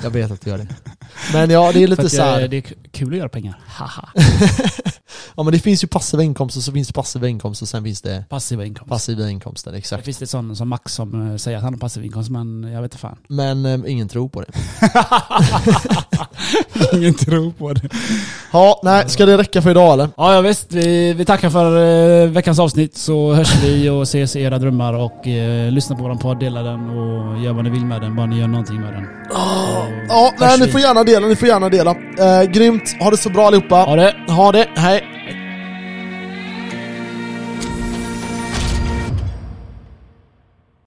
Speaker 1: Ja. Jag vet att du gör det. Men ja, det är
Speaker 2: För
Speaker 1: lite
Speaker 2: att
Speaker 1: så
Speaker 2: jag,
Speaker 1: här. <laughs>
Speaker 2: det är kul att göra pengar. Haha.
Speaker 1: Ja men det finns ju passiva inkomster, så finns det passiva inkomster, sen finns det
Speaker 2: Passiva inkomster.
Speaker 1: passiva inkomster,
Speaker 2: Det
Speaker 1: exakt.
Speaker 2: finns det sån som Max som eh, säger att han har passiv inkomst, men jag vet inte fan.
Speaker 1: Men eh, ingen tror på det.
Speaker 2: <laughs> Ingen tror på det.
Speaker 1: Ja, nej, ska det räcka för idag eller?
Speaker 2: Ja, ja visst. Vi, vi tackar för eh, veckans avsnitt så hörs vi och ses i era drömmar och eh, lyssna på våran podd, dela den och gör vad ni vill med den, bara ni gör någonting med den.
Speaker 1: Ja, nej,
Speaker 2: Hörs
Speaker 1: ni
Speaker 2: vi.
Speaker 1: får gärna dela, ni får gärna dela. Eh, grymt, ha det så bra allihopa.
Speaker 2: Ha det!
Speaker 1: Ha det, hej.
Speaker 2: Hej!